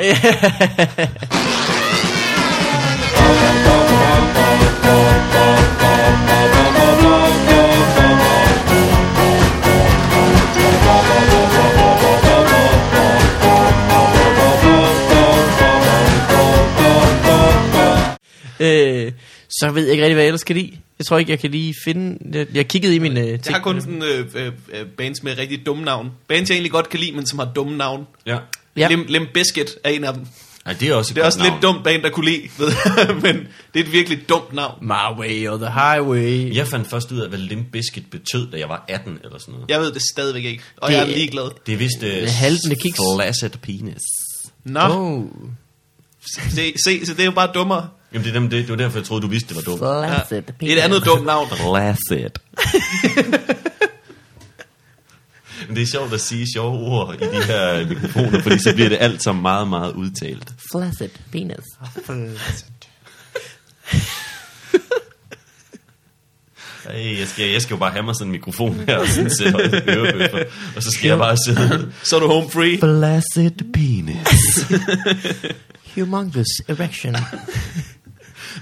A: Øh, så ved jeg ikke rigtig, hvad jeg ellers kan lide. Jeg tror ikke, jeg kan lige finde... Jeg, jeg kiggede i mine øh, ting.
B: Jeg har kun sådan øh, øh, øh, bands med rigtig dumme navn. Bands, jeg egentlig godt kan lide, men som har dumme navn.
C: Ja.
A: Ja.
B: Ja. Lim, Lim Biscuit er en af dem.
C: Ej, det er også et
B: Det er
C: godt
B: også
C: navn.
B: lidt dumt band, der kunne lide, ved, [LAUGHS] men det er et virkelig dumt navn.
A: My way or the highway.
C: Jeg fandt først ud af, hvad Limp Bizkit betød, da jeg var 18 eller sådan noget.
B: Jeg ved det stadigvæk ikke, og
A: Det
B: jeg er
A: er-
B: ligeglad.
C: Det er vist uh,
A: haltende kiks.
C: flaccid penis.
B: Nå, oh.
A: Oh,
B: se, se, så det er jo bare dummere.
C: Jamen, det, er dem, det, det var derfor, jeg troede, du vidste, det var dumt.
A: flaccid
B: Et andet dumt navn.
C: Flaccid. [LAUGHS] Men det er sjovt at sige sjove ord i de her øh, mikrofoner, fordi så bliver det alt sammen meget, meget udtalt.
A: Flaccid penis.
C: Ej, jeg, skal, jeg skal jo bare have mig sådan en mikrofon her, og sådan sætte ørebøffer, og så skal jeg bare sidde...
B: Så er du home free.
C: Flaccid penis.
A: humongous erection.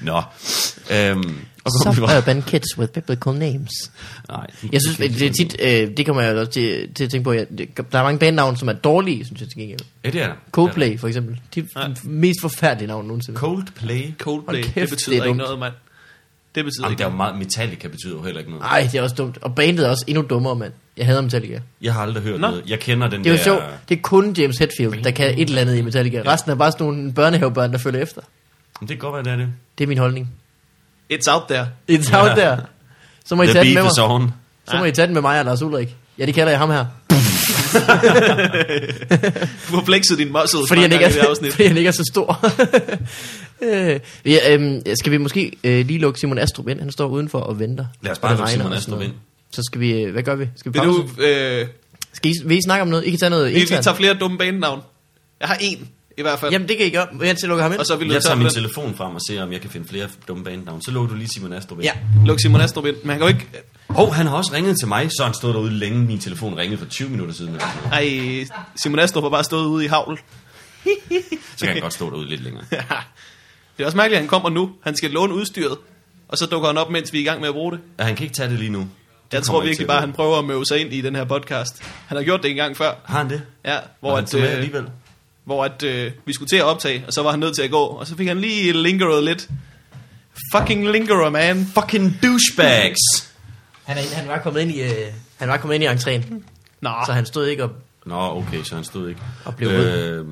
C: Nå. Øhm, og så kom vi bare...
A: Suburban kids with biblical names.
C: Nej.
A: Øh, Jeg synes, det, det er tit, øh, det kommer jeg også til, til at tænke på, jeg, det, der er mange bandnavne, som er dårlige, synes jeg til gengæld.
C: Ja, det er der.
A: øh, Coldplay for eksempel. De er
B: Ja.
A: ja. mest forfærdelige navn nogensinde.
C: Coldplay.
B: Coldplay,
A: Hold kæft,
B: det
A: det
B: betyder
A: er
B: ikke
A: dumt.
B: noget, mand. Det betyder
C: Jamen,
B: ikke
C: der er jo meget... Metallica betyder jo heller ikke noget.
A: Nej, det er også dumt. Og bandet er også endnu dummere, mand. Jeg hader Metallica.
C: Jeg har aldrig hørt
B: Nå.
C: noget. Jeg kender den
A: Det er jo
C: der...
A: sjovt. Det er kun James Hetfield, der kan et eller andet i Metallica. Resten er bare sådan nogle børnehavebørn, der følger efter.
C: Det kan godt være, det er det.
A: Det er min holdning.
B: noget. It's out there.
A: It's out
C: Ja.
A: there. Så må I
C: The
A: tage den med
C: beef
A: mig.
C: is on.
A: Så må I tage den med mig og Lars Ulrik. Ja, det kalder jeg ham her.
B: Du har flexet din muscles
A: Fordi han,
B: mange
A: ikke er,
B: gange i det
A: [LAUGHS]
B: afsnit.
A: fordi han ikke er så stor. øh, ja, øhm, skal vi måske øh, lige lukke Simon Astrup ind? Han står udenfor og venter.
C: Lad os
A: og
C: bare
A: det
C: lukke
A: regner
C: Simon
A: og sådan
C: Astrup
A: noget.
C: ind.
A: Så skal vi, øh, hvad gør vi? Skal vi,
B: Vil
A: pause?
B: du, øh,
A: Skal I, vil I snakke om noget? I kan tage noget
B: vi, vi
A: internt.
B: tager flere dumme banenavn. Jeg har en i hvert fald.
A: Jamen det kan I gøre, mens jeg lukker ham ind.
B: og så vil du
C: Jeg tager
B: tage
C: min
B: den.
C: telefon frem og ser, om jeg kan finde flere dumme banenavn. Så lå du lige Simon Astrup ind.
A: Ja.
B: Luk Simon Astrup ind. Men han kan jo ikke...
C: Hov, han har også ringet til mig, så han stod derude længe. Min telefon ringede for 20 minutter siden. eller sådan noget.
B: Ej, Simon Astrup har bare stået ude i havl.
C: Så kan han godt stå derude lidt længere.
B: [LAUGHS] det er også mærkeligt, at han kommer nu. Han skal låne udstyret. Og så dukker han op, mens vi er i gang med at bruge det.
C: Ja, han kan ikke tage det lige nu. Det
B: Jeg
C: kommer
B: tror
C: ikke
B: virkelig
C: til at
B: bare, at
C: gå.
B: han prøver at møve sig ind i den her podcast. Han har gjort det en gang før.
C: Har han det?
B: Ja,
C: Hvor
B: hvor,
C: han
B: at,
C: så med
B: øh,
C: alligevel?
B: hvor at, øh, vi skulle til at optage, og så var han nødt til at gå. Og så fik han lige lingeret lidt. Fucking lingerer, man.
C: Fucking douchebags!
A: Han, er, han var kommet ind i, øh, han var kommet ind i entréen,
B: Nå,
A: så han stod ikke og...
C: Nå, okay, så han stod ikke.
A: Og blev
C: øh,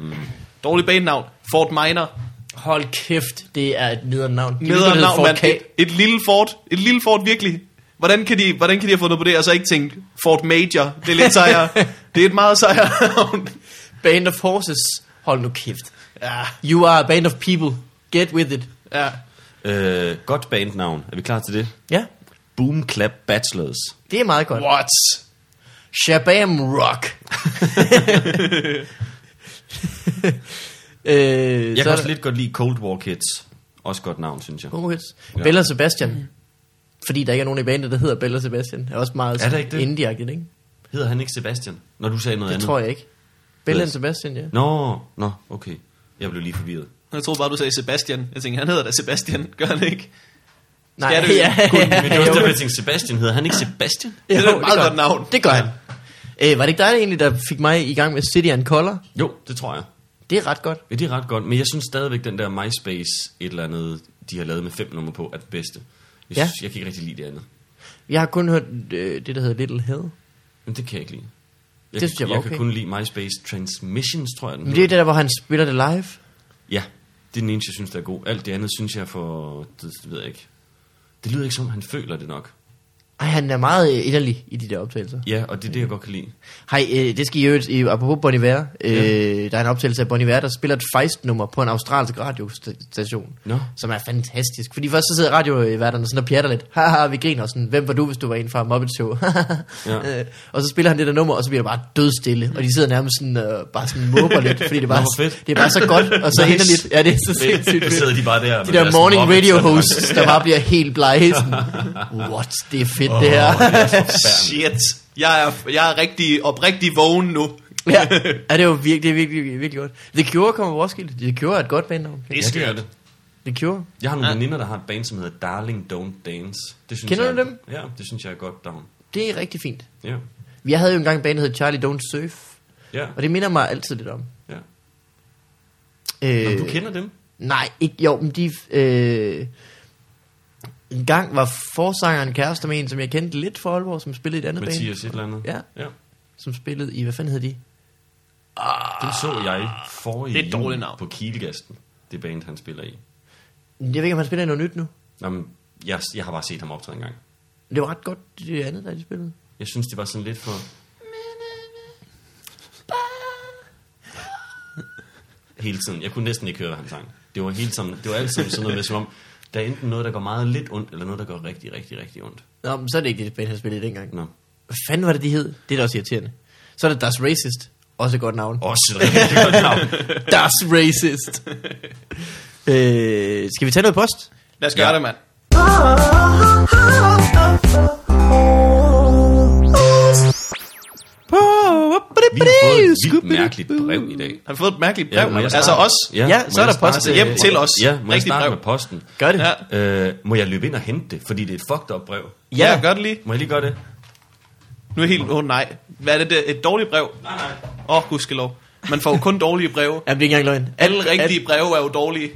B: dårlig banenavn. Fort Minor.
A: Hold kæft, det er et nederen navn. Det er lige
B: Nederen
A: noget
B: navn,
A: for
B: mand.
A: K.
B: Et, et lille fort. Et lille fort, virkelig. Hvordan kan, de, hvordan kan de have fundet på det, og så ikke tænke, Fort Major, det er
C: [LAUGHS]
B: lidt sejere. det er et meget sejere navn.
A: Band of Horses. Hold nu kæft.
B: ja,
A: You are a band of people. Get with it.
B: ja.
C: øh, godt bandnavn. Er vi klar til det?
A: Ja,
C: Boom Clap Bachelors.
A: det er meget godt.
B: What?
A: Shabam Rock. øh,
C: Jeg
A: så
C: kan
A: er
C: også
A: der-
C: lidt godt lide Cold War Kids. Også godt navn, synes jeg.
A: Homo Kids.
C: Ja.
A: Bella Sebastian. Fordi der ikke er nogen i bandet, der hedder Bella Sebastian. Er også meget
C: Er der ikke det?
A: indiagtigt, ikke?
C: Hedder han ikke Sebastian? Når du sagde noget
A: Det
C: andet.
A: tror jeg ikke. Bella
C: Ved-
A: and Sebastian, ja.
C: Nå, nå, okay. Jeg blev lige
A: [LAUGHS]
C: forvirret.
B: Jeg troede bare, du sagde Sebastian. Jeg tænkte, han hedder da Sebastian, gør han ikke?
A: Nej, [LAUGHS]
B: Skal du-
C: Gud, men det var også
A: jo.
C: derfor, jeg tænkte, Sebastian hedder han ikke Sebastian?
B: Det er
A: Jo,
B: da et meget
A: gør
B: godt
A: han.
B: navn.
A: Det gør han. Øh, var det ikke dig egentlig, der fik mig i gang med City and Color?
C: Jo, det tror jeg.
A: Det er ret godt.
C: Ja, det er ret godt, men jeg synes stadigvæk, den der MySpace et eller andet, de har lavet med fem numre på, er det bedste. Jeg,
A: Ja.
C: synes, jeg kan ikke rigtig lide det andet.
A: Jeg har kun hørt øh, det, der hedder Little Head.
C: Men det kan jeg ikke lide. Jeg,
A: Det synes jeg var
C: jeg
A: okay.
C: kan kun lide MySpace Transmissions, tror jeg den
A: Men det er jo
C: hedder.
A: det der, hvor han spiller det live.
C: Ja, det er den eneste, jeg synes, der er god. Alt det andet synes jeg er for... Det, det ved jeg ikke. Det lyder ikke som, han føler det nok.
A: Ej, han er meget øh, inderlig i de der optagelser.
C: Ja, og det er det, jeg godt kan lide.
A: Hej, øh, det skal I øvrigt, i- apropos Bon Iver, øh, der er en optagelse af Bon Iver, der spiller et fejstnummer på en australsk radiostation,
C: Nå.
A: som er fantastisk. Fordi først så sidder radioværterne sådan og pjatter lidt, haha, vi griner sådan, hvem var du, hvis du var en fra Muppet Show? [LAUGHS]
C: Ja.
A: ja. øh, og så spiller han det der nummer, og så bliver det bare dødstille, og de sidder nærmest sådan, øh, bare sådan måber lidt, fordi det er, bare,
C: Nå, hvor fedt.
A: det er bare så godt, og så
C: Nice.
A: nice. inderligt. Ja, det er så sindssygt
C: Så sidder
A: fedt.
C: de bare der.
A: De der morning radio hosts, der bare bliver helt blege,
C: [LAUGHS]
A: sådan, what, det er fedt oh. det her.
B: Shit. Jeg er, jeg er rigtig, oprigtig vågen nu.
C: [LAUGHS]
A: ja, ja, det var virkelig, det er virkelig, virkelig, virkelig godt. The Cure kommer fra Roskilde. The Cure er et godt bandnavn.
B: Det er
C: Ja, det er
B: skørt.
C: det.
A: The Cure.
C: Jeg har nogle
B: Ja.
C: ja. veninder, der har et band, som hedder Darling Don't Dance. Det synes
A: Kender
C: jeg,
A: du dem?
C: Ja, det synes jeg er godt down.
A: Det er rigtig fint.
C: Ja,
A: Vi havde jo engang en band, der hed Charlie Don't Surf.
C: ja,
A: Og det minder mig altid lidt om.
C: ja.
A: Øh,
C: Nå, du kender dem?
A: Nej, ikke, jo, men de... Øh, en gang var forsangeren kærester med en, som jeg kendte lidt for alvor, som spillede i et andet band.
C: Mathias et eller andet?
A: Ja.
C: ja.
A: Som spillede i, hvad fanden hed de?
C: Den så jeg forrige
B: Det er et dårligt
C: jul
B: navn.
C: på Kielgasten, det band, han spiller i.
A: Jeg ved ikke, om han spiller i noget nyt nu.
C: Jamen, jeg, jeg har bare set ham optræde en gang.
A: Det var ret godt, det andet, der de spillede.
C: Jeg synes, det var sådan lidt for... Hele tiden. Jeg kunne næsten ikke høre, hvad han sang. Det var, hele tiden, det var altid sådan noget med, som om, der er enten noget, der går meget lidt ondt, eller noget, der går rigtig, rigtig, rigtig ondt.
A: Nå, men så er det ikke det band, han spillede i dengang.
C: Nå.
A: Hvad fanden var det, de hed? Det er da også irriterende. Så er det Das Racist. Også et godt navn.
C: Også et rigtig godt navn.
A: [LAUGHS] Das Racist. øh, skal vi tage noget post?
B: Lad os gøre
C: Ja.
B: det, mand.
D: oh, oh, oh, oh, oh.
C: Vi har fået vildt mærkeligt brev i dag.
B: Har vi fået et mærkeligt brev?
C: Ja, må jeg
B: altså
C: starte?
B: os?
A: Ja,
C: må
A: så er
C: jeg
A: der post
C: starte-
B: hjem til os.
C: Ja, må jeg
B: Rigtig
C: starte
B: brev.
C: med posten?
A: Gør det.
B: Ja.
C: Øh, må jeg løbe ind og hente det, fordi det er et fucked up brev?
B: Ja, jeg gør det lige.
C: Må jeg lige gøre det?
B: Nu er jeg helt, åh oh, nej. Hvad er det der? Et dårligt brev?
C: Nej, nej.
B: Åh, oh, gudskelov. Man får jo kun dårlige breve.
A: Jamen, det er ikke engang løgn.
B: Alle rigtige breve er jo dårlige.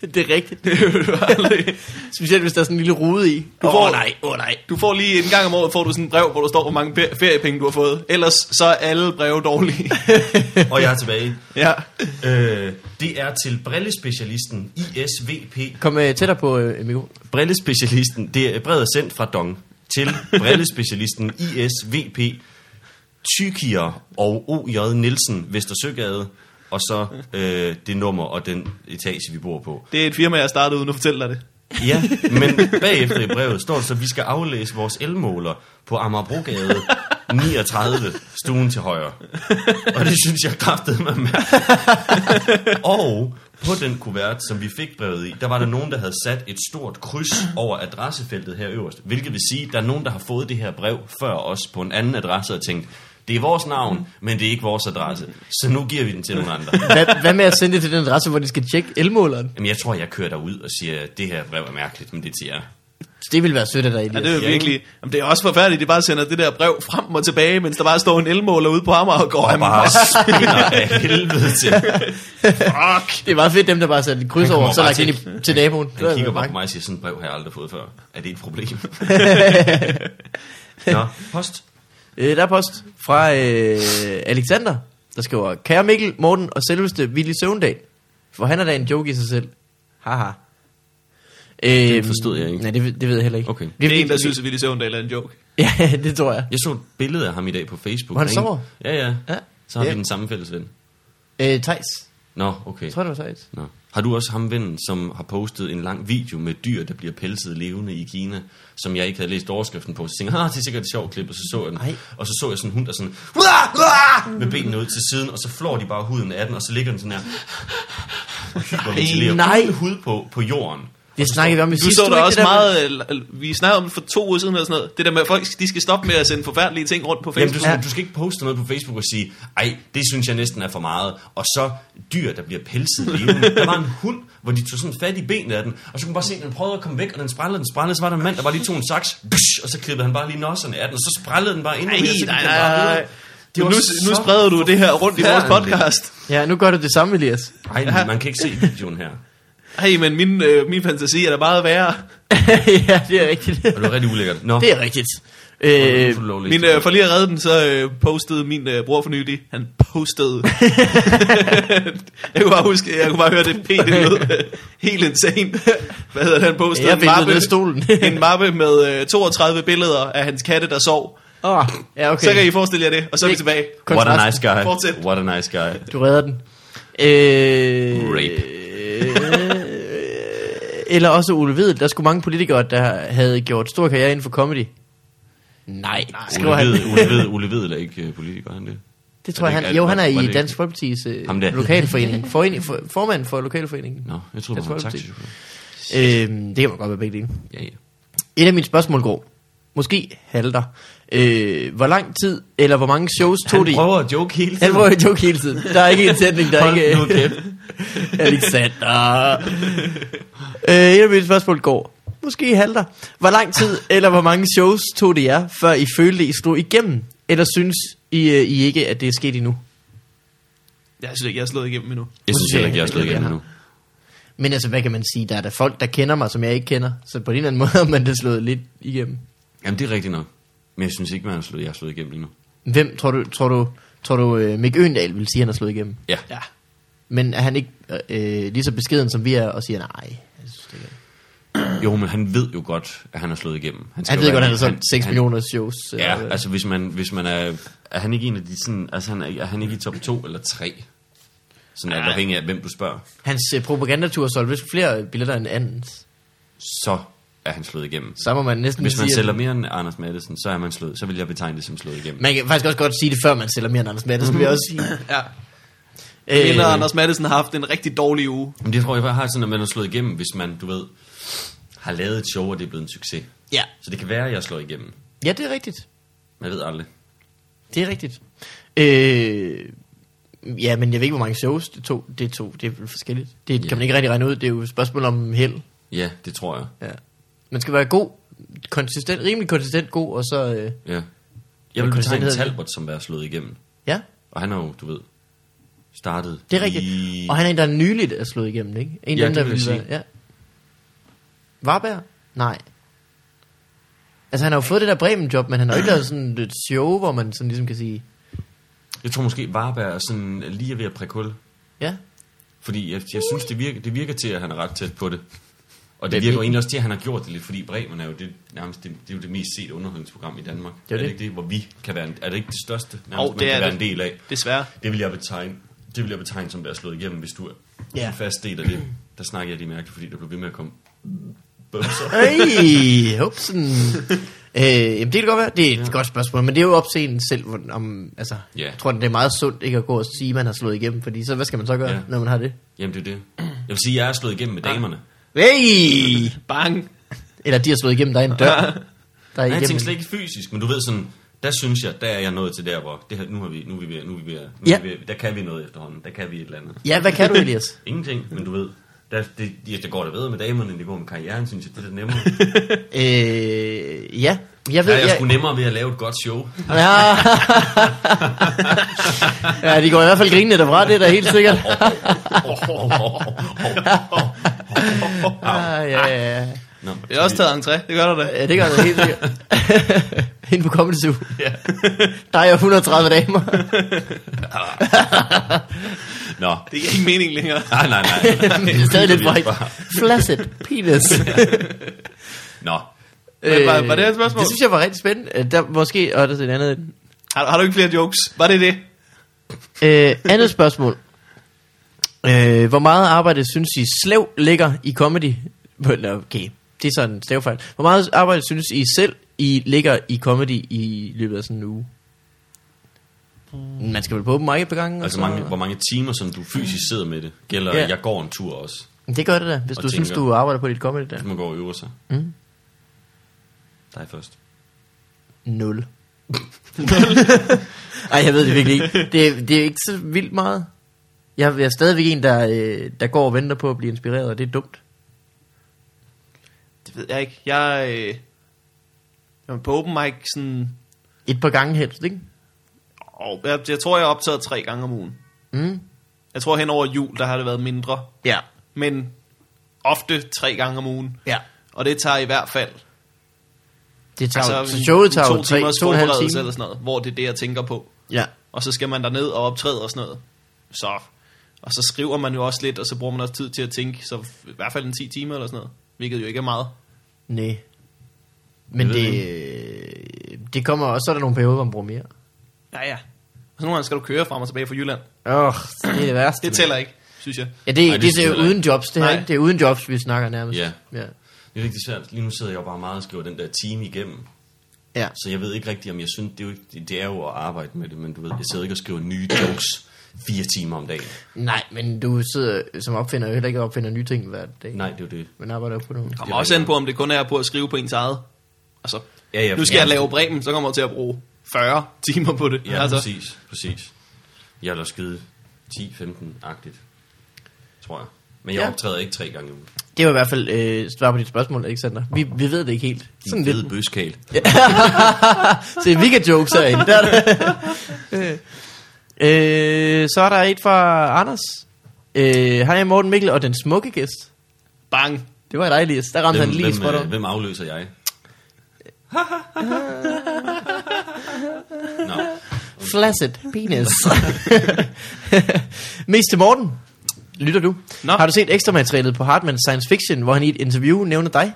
A: Alt, det er rigtigt.
B: Det er jo aldrig-
A: [LAUGHS] Specielt, hvis der er sådan en lille rude i. Du
B: Åh,
A: får,
B: nej,
A: åh oh, nej.
B: du får lige en gang om året, får du sådan et brev, hvor du står, hvor mange fe- feriepenge du har fået. Ellers så er alle breve [LAUGHS] dårlige.
C: Og jeg er tilbage.
B: ja.
C: Øh, det er til brillespecialisten ISVP
A: Kom øh, tættere på øh, mikro.
C: brillespecialisten, det er brevet er sendt fra Dong til brillespecialisten ISVP Tykier og OJ Nielsen Vestersøgade, og så øh, det nummer og den etage, vi bor på.
B: Det er et firma, jeg startede uden at fortælle dig det.
C: Ja, men bagefter i brevet står der så, at vi skal aflæse vores elmåler på Amagerbrogade 39, stuen til højre. Og det synes jeg kraftede mig mærke. Og på den kuvert, som vi fik brevet i, der var der nogen, der havde sat et stort kryds over adressefeltet her øverst. Hvilket vil sige, at der er nogen, der har fået det her brev før os på en anden adresse og tænkt, det er vores navn, men det er ikke vores adresse. Så nu giver vi den til nogle andre.
A: Hvad, hvad med at sende det til den adresse, hvor de skal tjekke elmåleren?
C: Jamen, jeg tror, jeg kører derud og siger, at det her brev er mærkeligt, men det er til jer.
A: Det ville være sødt af dig,
B: Ja,
A: Elias.
B: det er jo virkelig... Jamen, det er også forfærdeligt, at de bare sender det der brev frem og tilbage, mens der bare står en elmåler ude på Amager og går
C: og
B: amok.
C: bare spinner
A: [LAUGHS]
C: af helvede til.
A: Fuck. Det er meget fedt, dem der bare satte et kryds
C: Han
A: over,
C: kommer
A: og så
C: bare
A: lagt ind
C: til-
A: i, til naboen. Det er
C: Han kigger bare
A: mange.
C: på mig og siger, sådan et brev har jeg aldrig fået før. Er det et
A: [LAUGHS]
C: problem? Nå, post.
A: Øh, der er post fra øh, Alexander, der skriver, Kære Mikkel, Morten og selveste Willy Søvndag, for han er da en joke i sig selv. Haha. Øh, det
C: forstod jeg ikke.
A: Nej, det, ved- det ved jeg heller ikke.
C: Okay.
B: Det er
A: fordi-
B: en, der synes, at Willy Søvndal er en joke.
A: Ja, [LAUGHS] det tror jeg.
C: Jeg så et billede af ham i dag på Facebook.
A: Hvor han
C: Der er en-
A: sover?
C: Ja, ja.
A: Ja.
C: Så har
A: Ja.
C: vi den samme fælles ven.
A: Øh, Thijs.
C: Nå, okay.
A: Jeg tror, det var Thijs.
C: Nå. Har du også ham vennen, som har postet en lang video med dyr, der bliver pelset levende i Kina, som jeg ikke havde læst overskriften på, så tænkte jeg, ah, det er sikkert et sjovt klip, og så så jeg den.
A: Ej.
C: Og så så jeg sådan en hund, der sådan, "Uah, uah!" med benene ud til siden, og så flår de bare huden af den, og så ligger den sådan her, og hyperventilerer
A: nej.
C: uden hud på, på jorden.
A: Det snakkede vi om i
B: Du
A: sidste
B: så
A: uge,
B: der
A: ikke,
B: også
A: det der med-
B: meget... øh, l- Vi snakkede om det for to uger siden eller sådan noget. Det der med, at folk de skal stoppe med at sende forfærdelige ting rundt på
C: Jamen,
B: Facebook.
C: du,
A: Ja.
C: skal, du skal ikke poste noget på Facebook og sige, ej, det synes jeg næsten er for meget. Og så dyr, der bliver pelset
B: [LAUGHS]
C: levende. Der var en hund, hvor de tog sådan fat i benet af den, og så kunne man bare se, at den prøvede at komme væk, og den sprællede, den sprællede, så var der en mand, der bare lige tog en saks, bsh, og så klippede han bare lige nosserne af den, og så sprællede den bare endnu
B: Ej,
C: mere. så gik
B: nej,
C: den bare
B: nej, nej.
C: videre.
B: Det nu,
C: så
B: nu spreder du det her rundt i vores
C: forfærdeligt.
B: podcast.
A: Ja, nu gør du det samme, Elias. [LAUGHS]
C: Ej, men man kan ikke se videoen her.
B: Hey, men min, øh, min fantasi er da meget værre.
A: ja, det er rigtigt.
C: Og det var rigtig ulækkert. Nå,
A: det er rigtigt.
C: nu
A: Øh,
C: får du lov at læse
B: Min,
C: det.
B: øh, for lige at redde den, så øh, postede min øh, bror for nylig. Han
A: [LAUGHS]
B: postede. jeg kunne bare huske, jeg kunne bare høre det p, det lød øh, helt insane. Hvad hedder det, han postede?
A: Ja, jeg
B: En
A: væltede
B: mappe-
A: ned af stolen.
B: [LAUGHS] en mappe med øh, 32 billeder af hans katte, der sov.
A: Øh, åh, ja, okay.
B: Så kan I forestille jer det, og så er vi
A: Det-
B: tilbage.
C: What a nice
A: kontrasten.
C: guy.
B: Fortsæt.
C: What a nice guy.
A: Du redder den. Øh,
C: Rape.
A: øh, eller også Ole Vedel. Der skulle mange politikere, der havde gjort stor karriere inden for comedy. Nej, skriver
C: Ole
A: han.
C: Ved, Ole Ved, Ole Vedel er ikke øh, politiker, er han det?
A: [LAUGHS] Det tror
C: Er
A: jeg,
C: det
A: han.
C: ikke-
A: Jo,
C: var-
A: han er
C: var det
A: i
C: ikke-
A: Dansk Folkepartis øh,
C: Ham der.
A: lokalforening. Forening, for, formand for lokalforeningen.
C: Nå, jeg tror,
A: Dansk
C: han var
A: Folkeparti.
C: taxichauffør.
A: Øhm, det kan man godt være begge dele.
C: Ja, ja.
A: Et af mine spørgsmål går. Måske halter. Øh, hvor lang tid, eller hvor mange shows tog det i?
C: Han prøver at joke hele tiden.
A: Han prøver at joke hele tiden. Der er ikke en sætning, der er
C: Hold
A: ikke... [LAUGHS]
C: nu kæft.
A: Alexander. [LAUGHS] øh, et af mine spørgsmål går. Måske halter. Hvor lang tid eller hvor mange shows tog det jer, før I følte, I stod igennem? Eller synes I, øh, I ikke, at det er sket endnu?
B: Jeg synes ikke, jeg er slået igennem endnu.
C: Jeg synes heller ikke, jeg har slået
A: Ja.
C: igennem endnu.
A: Men altså, hvad kan man sige? Der er der folk, der kender mig, som jeg ikke kender. Så på en eller anden måde har man det slået lidt igennem.
C: Jamen, det er rigtigt nok. Men jeg synes ikke, man har slået, jeg har slået igennem endnu.
A: Hvem tror du, tror du, tror du øh, Mick Øendal vil sige, at han er slået igennem?
C: Ja.
B: Ja.
A: Men er han ikke øh, øh, lige så beskeden, som vi er, og siger, nej, jeg synes det ikke. er."
C: Jo, men han ved jo godt, at han har slået igennem. skal
A: Han
C: jo
A: ved
C: være-
A: godt, at han har solgt 6
C: han-
A: millioner shows. øh,
C: Ja, altså hvis man, hvis man er... Er han ikke en af de sådan... Altså han er, er han ikke i top 2 eller 3? Sådan alt afhængig af, hvem du spørger.
A: Hans øh, propagandatur solgte vist flere billetter end andens.
C: Så er han slået igennem.
A: Så må man næsten
C: Hvis man
A: sige, at-
C: sælger mere end Anders Maddelsen, så er man slået. Så vil jeg betegne det som slået igennem.
A: Man kan faktisk også godt sige det, før man sælger mere end Anders Maddelsen, vil jeg også sige.
C: Mhm.
B: Ja.
A: Øh,
B: Min og Anders Madsen har haft en rigtig dårlig uge.
C: Men det tror jeg, jeg har sådan, at man er slået igennem, hvis man, du ved, har lavet et show, og det er blevet en succes.
A: ja.
C: Så det kan være, at jeg slår igennem.
A: ja, det er rigtigt.
C: Man ved aldrig.
A: Det er rigtigt. Øh, ja, men jeg ved ikke, hvor mange shows det tog. Det, tog, det er vel forskelligt. Det
C: Ja.
A: kan man ikke rigtig regne ud. Det er jo et spørgsmål om held.
C: Ja, det tror jeg.
A: Ja. Man skal være god, konsistent, rimelig konsistent god, og så... Øh,
C: Ja. Jeg vil
A: Hvad
C: betegne
A: hedder det?
C: Talbot som være slået igennem.
A: ja,
C: Og han har jo, du ved, startet
A: det er rigtigt.
C: I...
A: Og han er en, der nyligt er slået igennem, ikke? En
C: Ja,
A: af dem, der
C: det vil
A: ville
C: jeg
A: være... Ja. Varberg? Nej. Altså, han har jo fået det der Bremen-job, men han har jo ikke lavet sådan et show, hvor man sådan ligesom kan sige...
C: Jeg tror måske, Varberg er sådan lige ved at prikke hul.
A: Ja,
C: Fordi jeg, jeg synes, det virker, det virker til, at han er ret tæt på det. Og
A: Hvem
C: det virker jo
A: ikke?
C: egentlig også til, at han har gjort det lidt, fordi Bremen er jo det, nærmest det, det, er jo det mest set underholdningsprogram i Danmark.
A: Det er
C: er det
A: det.
C: ikke det, hvor vi kan være en, Er det ikke det største, nærmest,
B: Og
C: man
B: det
C: kan
B: er
C: være
B: det.
C: en del af?
B: Desværre.
C: Det vil jeg betegne, det vil jeg betegne som, der er slået igennem, hvis du er
A: Ja.
C: yeah. fast del af det. Der snakker jeg lige mærkeligt, fordi der blev ved med at komme bømser.
A: Ej,
C: [LAUGHS]
A: hupsen. Øh, jamen det kan godt være, det er et ja. godt spørgsmål, men det er jo opseende selv, hvor- om, altså,
C: Ja.
A: jeg tror, det er meget sundt ikke at gå og sige, at man har slået igennem, fordi så hvad skal man så gøre,
C: Ja.
A: når man har det?
C: Jamen det er det. Jeg vil sige, at jeg er slået igennem med damerne.
A: Hey!
B: Bang.
A: Eller de har slået igennem, der er en
C: [LAUGHS]
A: dør. Der er
C: Nej, jeg tænker slet
A: igennem.
C: ikke fysisk, men du ved sådan, der synes jeg, der er jeg nået til der, hvor det her, nu, har vi, nu er vi ved, nu er vi ved, nu
A: Ja.
C: er vi ved, der kan vi noget efterhånden, der kan vi et eller andet.
A: Ja, hvad kan du, Elias?
C: Ingenting, men du ved, der, det, ja, det går det bedre med damerne, end det går med karrieren, synes jeg, det er da
A: [LAUGHS]
C: nemmere.
A: øh, ja, jeg
C: Der
A: ved...
C: er jeg sgu
A: [LAUGHS] jeg,
C: nemmere ved at lave et godt
A: [LAUGHS]
C: show.
A: ja. ja, de går i hvert fald grinende derfra, det er da helt sikkert. ah, ja, ja, ja.
C: Nå,
B: Det er også taget entré, det gør der da.
A: Ja, det gør det helt
B: [LAUGHS]
A: sikkert. Hende på Comedy Zoo. [LAUGHS] Ja. Der er jeg 130
B: [LAUGHS]
A: damer.
C: Nå.
B: Det giver ikke mening længere.
C: Nej, nej, nej.
A: [LAUGHS] det er stadig lidt
C: Det er
A: vejt.
C: bare-
A: Flaccid penis.
C: Nå.
B: [LAUGHS] Men var- var det et spørgsmål?
A: Øh, Det synes jeg var rigtig spændende. Øh, Der, måske, og der er et andet.
B: Har, har du ikke flere jokes? Var det det?
A: Øh, andet spørgsmål. Øh, hvor meget arbejde synes I slev ligger i comedy? Eller, Okay, det er sådan en stavefejl. Hvor meget arbejde synes I selv, I ligger i comedy i løbet af sådan en uge? Man skal vel på open mic et par gange? og
C: Hmm. Altså,
A: så-
C: mange, hvor mange timer, som du fysisk sidder med det, gælder,
A: Ja.
C: ja. jeg går en tur også.
A: Det gør det da, hvis
C: Og
A: du synes,
C: tænker.
A: du arbejder på dit comedy der.
C: Man går og øver sig.
A: Mm.
C: Dig først.
A: Nul.
C: [LAUGHS]
A: [LAUGHS] Ej, jeg ved det virkelig ikke. Det, det er ikke så vildt meget. Jeg, jeg er stadigvæk en, der, øh, der går og venter på at blive inspireret, og det er dumt.
B: Det ved jeg ikke. Jeg, øh, jeg var på open mic sådan...
A: Et par gange helst, ikke?
B: Oh, jeg, jeg tror, jeg har optaget tre gange om ugen.
A: Mm.
B: Jeg tror, hen over jul, der har det været mindre.
A: Ja.
B: Men ofte tre gange om ugen.
A: Ja.
B: Og det tager i hvert fald...
A: Det tager, altså,
B: en-
A: så showet tager
B: to
A: jo tre,
B: timers
A: to og en halv
B: forberedelse
A: time.
B: Eller sådan noget, hvor det er det, jeg tænker på.
A: Ja.
B: Og så skal man derned og optræde og sådan noget. Så... Og så skriver man jo også lidt, og så bruger man også tid til at tænke. Så i hvert fald en 10 timer eller sådan noget. Hvilket jo ikke er meget.
A: Nej. Men
C: Jeg ved
A: det, øh, det kommer også, så er der nogle perioder, hvor man bruger mere.
B: Ja, ja. Og så nogle gange skal du køre frem og tilbage fra Jylland.
A: Åh, oh, det er det værste.
B: Det tæller ikke, synes jeg.
A: Ja, det,
C: Nej,
A: Ej, det,
C: det
A: det er
C: skal
A: jo
C: heller ikke.
A: uden jobs, det her.
B: Nej.
A: ikke? Det er uden jobs, vi snakker nærmest.
C: Ja.
A: Ja.
C: Det er rigtig svært. Lige nu sidder jeg jo bare meget og skriver den der time igennem.
A: ja.
C: Så jeg ved ikke rigtigt, om jeg synes, det er jo, ikke, det- det er jo at arbejde med det, men du ved, jeg sidder ikke og skriver nye jokes fire timer om dagen.
A: Nej, men du sidder som opfinder jo heller ikke og opfinder nye ting hver dag.
C: Nej, det er jo det.
A: Man arbejder jo på nogle.
B: kommer også an på, om det kun er på at skrive på ens eget. Altså,
C: Ja, ja,
B: nu skal jeg
C: ja.
B: lave Bremen, så kommer jeg til at bruge 40 timer på det.
C: Ja, altså. præcis, præcis. Jeg har da skyde 10-15-agtigt, tror jeg. Men jeg
A: Ja.
C: ja. optræder ikke tre gange i ugen.
A: Det var i hvert fald øh, svar på dit spørgsmål, Alexander. Vi, vi ved det ikke helt.
C: Sådan
A: Sådan
C: fede
A: lidt.
C: lidt. bøskal.
A: Se, vi kan jokes herinde. Der er det. øh, så er der et fra Anders. Øh, hej, Morten Mikkel og den smukke gæst.
B: Bang.
A: Det var dig, Elias. Der ramte
C: Hvem,
A: han lige
C: hvem,
A: spot
C: øh,
A: on.
C: hvem afløser
A: [LAUGHS]
C: jeg? Nå,
A: Flaccid
B: [LAUGHS]
A: penis. Mest til Morten. Lytter du?
B: Nå.
A: Har du set ekstra materialet på Hartmann Science Fiction, hvor han i et interview nævner dig?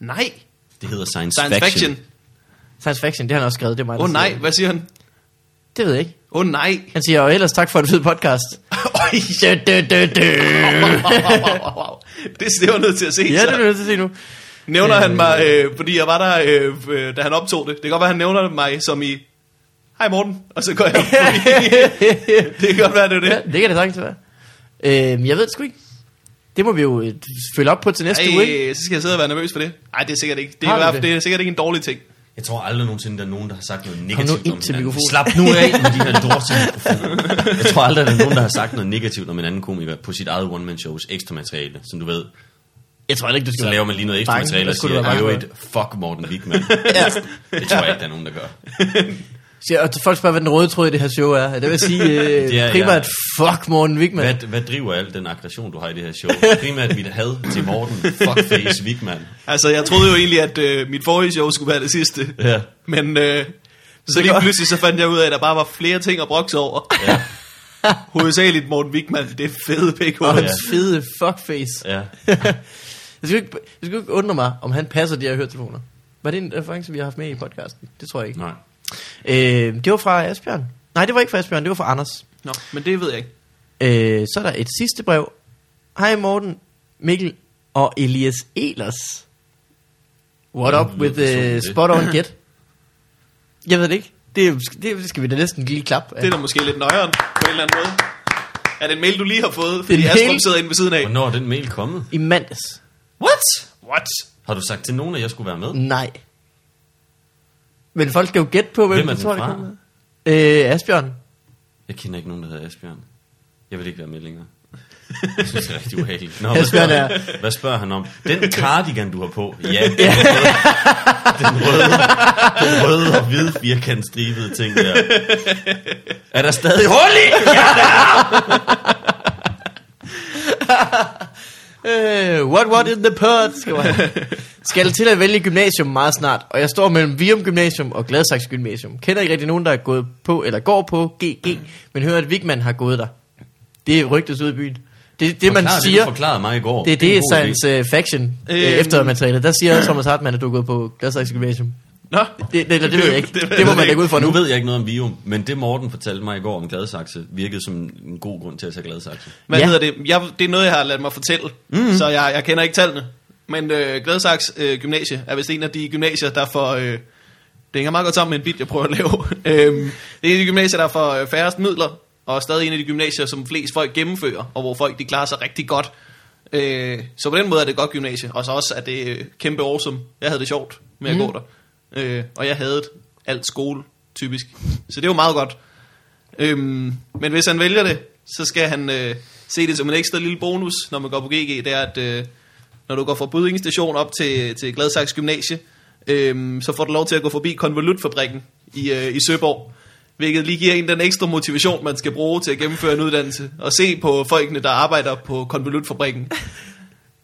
B: Nej.
C: det hedder science,
B: Science
C: fiction.
B: fiction.
A: Science Fiction, det har han også skrevet. Det er mig, der
B: Åh oh,
A: siger
B: nej,
A: det.
B: hvad siger han?
A: Det ved jeg ikke.
B: Åh oh, nej.
A: Han siger, og ellers tak for en fed
B: [LAUGHS]
A: podcast. dø, dø, dø, dø.
B: det, det var jeg nødt til at se.
A: Ja,
B: så.
A: det er du nødt til at se nu.
B: Nævner han mig, øh, fordi jeg var der, øh, øh, da han optog det. Det kan godt være, han nævner mig som i, hej Morten, og så går
A: [LAUGHS]
B: jeg forbi. det kan godt være, det er
A: ja,
B: det.
A: det kan det sagtens være. Øhm, jeg ved det sgu ikke. Det må vi jo øh, følge op på til næste uge, ikke?
B: Ej, så skal jeg sidde og være nervøs for det. Nej, det er sikkert ikke. Det er,
A: Har
B: i
A: du
B: hvert
A: det?
B: fald, det er sikkert ikke en dårlig ting.
C: Jeg tror aldrig nogensinde, der er nogen, der har sagt noget
A: nu
C: negativt
A: ind
C: om
A: til
C: hinanden.
A: mikrofonen.
C: Slap nu af med de her
A: [LAUGHS]
C: dorte mikrofoner. Jeg tror aldrig, der er nogen, der har sagt noget negativt om en anden komiker på sit eget one-man-shows ekstra materiale, som du ved.
A: Jeg tror heller ikke, du skal
C: Så laver man lige noget ekstra
A: Bange,
C: materiale
A: der
C: og
A: skulle du
C: siger,
A: være
C: jo
A: bange
C: et fuck Morten
A: [LAUGHS]
C: Wigman. Det tror jeg ikke, der er nogen, der gør.
A: Siger, og folk spørger, hvad den røde tråd i det her show er. Det vil
C: [LAUGHS]
A: sige øh,
C: Det er, ja.
A: primært, fuck Morten Wigman.
C: Hvad, hvad driver al den aggression, du har i det her show? Primært mit had til Morten, fuckface Wigman.
B: Altså, jeg troede jo egentlig, at øh, mit forrige show skulle være det sidste.
C: Ja.
B: Men øh, så lige pludselig så fandt jeg ud af, at der bare var flere ting at brokse over.
C: Ja.
B: Hovedsageligt Morten Wigman, det er fede pk.
A: Og
C: Ja.
A: hans fede fuckface. [LAUGHS]
C: Ja.
A: Det skal, jo ikke, det skal jo ikke undre mig, om han passer de her høretelefoner. Var det en reference, vi har haft med i podcasten? Det tror jeg ikke.
C: Nej.
A: Øh, det var fra Asbjørn. Nej, det var ikke fra Asbjørn, det var fra Anders.
B: Nå, men det ved jeg ikke.
A: Øh, så er der et sidste brev. Hej Morten, Mikkel og Elias Elers. What up with the
C: personligt.
A: spot
C: [LAUGHS]
A: on get? Jeg ved det ikke. Det, er- det skal vi da næsten lige klappe. af.
B: Det er da måske lidt nøjeren på en eller anden måde. Er det en mail, du lige har fået?
A: Det er
B: Fordi
A: en
B: Astrup
A: mail.
B: sidder inde ved siden af.
C: Hvornår er den mail kommet?
A: I mandags.
B: What? What?
C: Har du sagt til nogen, at jeg skulle være med?
A: Nej. Men folk skal jo gætte på, hvem,
C: Hvem er
A: de
C: den
A: tror, der
C: fra?
A: kommer. Øh, Asbjørn.
C: Jeg kender ikke nogen, der hedder Asbjørn. Jeg vil ikke være med længere. Jeg synes, det er rigtig ubehageligt. Nå,
A: Asbjørn
C: hvad,
A: er-
C: spørger, hvad spørger han om? Den cardigan, du har på.
A: [LAUGHS]
C: Ja, den røde, den røde, den røde og hvide firkantstribede ting der. Er der stadig hul i?
A: Øh, what what in the pot? Skal, man. skal til at vælge gymnasium meget snart, og jeg står mellem Vium Gymnasium og Gladsaks Gymnasium. Kender ikke rigtig nogen, der er gået på eller går på GG, men hører, at Vigman har gået der. Det rygtes ud i byen. Det er det, man
C: Forklar
A: siger.
C: Det, du forklarede mig i går.
A: Det er
C: en
A: det,
C: god idé.
A: Science uh, Faction øh,
B: Øhm.
A: eftermaterialet. Der siger Thomas Hartmann, at du er gået på Gladsaks Gymnasium.
B: Nå,
A: Det, det, eller det ved jeg ikke.
B: [LAUGHS] Det ved
A: Det må
B: jeg
A: man lægge ud for
C: nu.
A: nu.
C: ved jeg ikke noget om Vium, men det Morten fortalte mig i går om Gladsaxe, virkede som en god grund til at tage Gladsaxe.
B: hvad
A: Ja.
B: ja. hedder det? Jeg, det er noget, jeg har ladet mig fortælle, mm-hmm. så jeg, jeg kender ikke tallene. Men øh, Gladsax øh, Gymnasie er vist en af de gymnasier, der får... Øh, det hænger meget godt sammen med en bit, jeg prøver at lave. [LAUGHS] øhm, det er en af de gymnasier, der får øh, færrest midler, og stadig en af de gymnasier, som flest folk gennemfører, og hvor folk de klarer sig rigtig godt. Øh, så på den måde er det et godt gymnasie, og så også er det øh, kæmpe awesome. Jeg havde det sjovt med at mm. gå der, øh, og jeg havde alt skole, typisk. Så det er jo meget godt. Øhm, men hvis han vælger det, så skal han øh, se det som en ekstra lille bonus, når man går på GG. Det er, at øh, når du går fra Buddinge station op til, til Gladsaks Gymnasie, øhm, så får du lov til at gå forbi konvolutfabrikken i, øh, i Søborg. Hvilket lige giver en den ekstra motivation, man skal bruge til at gennemføre en uddannelse. Og se på folkene, der arbejder på konvolutfabrikken.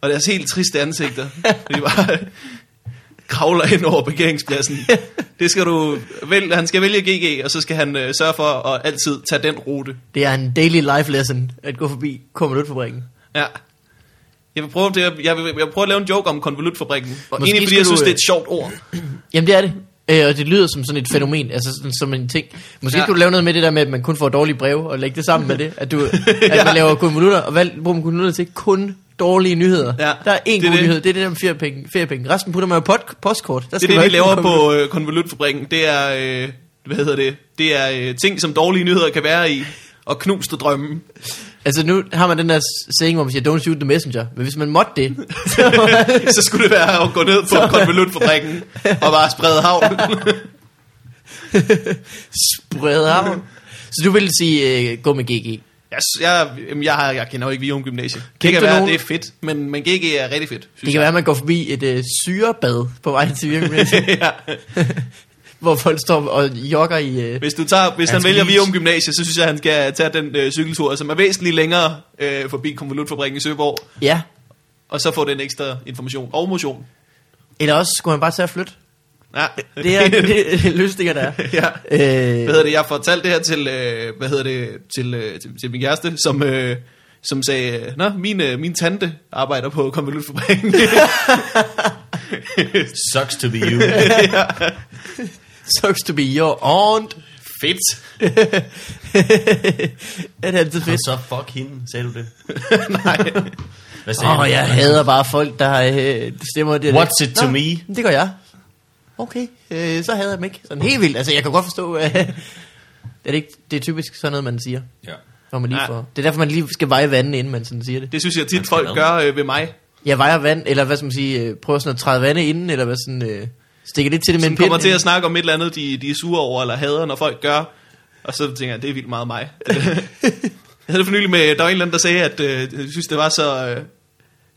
B: Og deres helt triste ansigter. De bare kravler ind over parkeringspladsen.
A: [LAUGHS]
B: Det skal du vælge. Han skal vælge GG, og så skal han øh, sørge for at altid tage den rute.
A: Det er en daily life lesson at gå forbi Kommunalfabrikken.
B: Ja. Jeg vil prøve, det, jeg, jeg, vil, jeg vil prøve at lave en joke om konvolutfabrikken. Og
A: Måske
B: egentlig fordi
A: skal
B: jeg
A: du,
B: synes, det er
A: øh,
B: et sjovt ord.
A: Jamen det er det. Øh, og det lyder som sådan et fænomen, altså sådan, som en ting. Måske ja.
B: Ja.
A: skulle du lave noget med det der med, at man kun får dårlige breve, og lægge det sammen med det, at,
B: [LAUGHS]
A: du, at man laver konvolutter, og hvad bruger man konvolutter til? Kun dårlige nyheder.
B: Ja,
A: Der er én
B: det er
A: god
B: det.
A: nyhed, det er det der med feriepenge. feriepenge. Resten putter man jo pot, postkort. Der
B: Det
A: man
B: er
A: jo
B: det, de
A: ikke
B: laver
A: kun
B: på øh, konvolutfabrikken. Det er, øh, hvad hedder det? Det er øh, ting, som dårlige nyheder kan være i. Og
A: [LAUGHS]
B: knuste drømme.
A: Altså nu har man den der saying, hvor man siger, don't shoot the messenger. Men hvis man måtte det, [LAUGHS] så
B: Så skulle det være at gå ned på konvolutfabrikken og bare sprede havn.
A: [LAUGHS] spreder arven. Så du ville sige, øh, gå med GG.
B: Jeg, s- jeg, jamen, jeg, har, jeg kender jo ikke Vium Gymnasium. Det
A: Kendte
B: kan
A: du
B: være,
A: nogen?
B: det er fedt, men, men GG er rigtig fedt.
A: Det kan være, at man går forbi et øh, syrebad på vej til
B: [LAUGHS]
A: virkeligheden,
B: ja.
A: hvor folk står og jogger i... Øh,
B: Hvis, du tager, hvis
C: Han
B: han,
C: skal
B: vælger
C: lige-
B: Vium Gymnasium, så synes jeg, han skal tage den øh, cykeltur, som er væsentligt længere øh, forbi konvolutfabrikken i Søborg,
A: ja,
B: og så få den ekstra information og motion.
A: Eller også skulle han bare tage at flytte.
B: Ja.
A: Det er det, det løsninger, der er.
B: [LAUGHS] ja. Hvad
A: Øh,
B: hedder det, jeg fortalte det her til, øh, hvad hedder det, til, øh, til, til min kæreste, som, øh, som sagde, Nå, min, øh, min tante arbejder på konvolutfabrikken.
C: Sucks to be
A: [LAUGHS]
C: you.
A: sucks to be your aunt.
B: fedt.
A: det [LAUGHS] er altid
C: Og
A: fedt.
C: så fuck hende, sagde du det?
B: [LAUGHS] Nej.
C: Hvad sagde
A: Åh,
C: du?
A: oh, jeg hader bare folk, der øh, stemmer det.
C: What's it to me?
A: Det gør jeg. Okay, øh, så hader jeg dem ikke. Sådan helt vildt. Altså, jeg kan godt forstå... Øh, [LAUGHS] er det, ikke, det er typisk sådan noget, man siger.
C: Ja.
A: Når man lige
B: Ja.
A: får. Det er derfor, man lige skal veje vandet, inden man sådan siger det.
B: Det synes jeg
C: Han
B: tit,
C: skal
B: folk
C: hvad?
B: gør øh, ved mig.
A: Jeg vejer vand, eller hvad skal man sige, øh, prøver sådan at træde vandet inden, eller hvad sådan... Øh, stikker lidt til det med
B: som
A: en pind.
B: kommer til at snakke om et eller andet, de, de er sure over, eller hader, når folk gør. Og så tænker jeg, det er vildt meget mig.
A: [LAUGHS]
B: jeg havde det for nylig med, der var en eller anden, der sagde, at øh, jeg synes, det var så... Øh,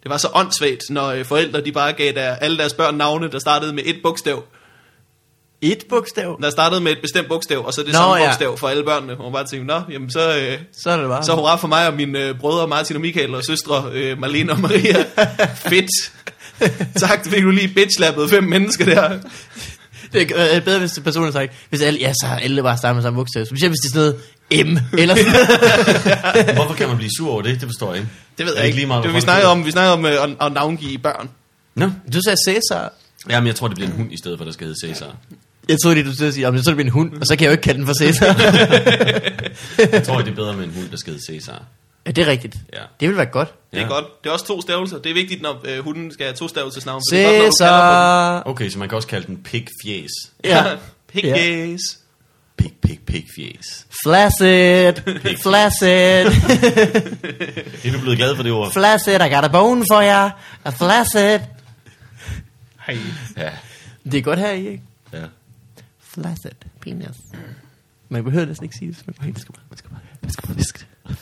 B: det var så åndssvagt, når øh, forældre de bare gav der, alle deres børn navne, der startede med et bogstav.
A: Et bogstav.
B: Der startede med et bestemt bogstav, og så det
A: Nå,
B: samme
A: ja.
B: bogstav for alle børnene. Og man bare tænkte, nå, jamen så, øh,
A: Så er det bare.
B: så hurra for mig og mine øh, brødre Martin og Michael og søstre øh, Marlene og
A: [LAUGHS]
B: Maria. Fedt. tak, det fik du lige bitchlappet fem mennesker der.
A: Det er øh, bedre, hvis personen har sagt, hvis alle, ja, så har alle bare startet med samme bogstav. Specielt hvis det er sådan noget [LAUGHS] M, eller sådan noget.
C: Hvorfor kan man blive sur over det? Det forstår jeg ikke.
B: Det ved
C: Er
B: jeg ikke.
C: Lige meget,
B: det,
C: hvor
B: var- vi
C: folk
B: snakkede
C: bor?
B: om, vi snakkede om øh, at, at navngive børn.
C: Nå,
A: Du sagde Cæsar.
C: jamen jeg tror, det bliver en hund i stedet for, der skal hedde Cæsar.
A: Jeg troede lige, du skulle sige, om jeg tror, det bliver en hund, og så kan jeg jo ikke kalde den for Cæsar.
C: Jeg tror, det er bedre med en hund, der skal hedde Cæsar.
A: ja, det er rigtigt.
C: Ja.
A: Det ville være godt.
B: Det er
C: Ja.
B: godt. Det er også to stavelser. Det er vigtigt, når øh, hunden skal have to stavelses navn.
A: Cæsar.
C: Okay, så man kan også kalde den pig-fjæs.
B: Ja.
A: Ja.
B: Pig
A: Ja.
B: gays.
C: Pig, pig, pig-fjæs.
A: Flaccid. Flaccid.
C: Det er du blevet glad for, det ord.
A: Flaccid. I got a bone for jer. A flaccid.
B: Hej.
C: Ja,
A: Det er godt her, i, ikke?
C: ja.
A: Flaccid. Penis. Man behøver næsten ikke sige det. men Man skal bare, man skal bare, man skal bare viske det.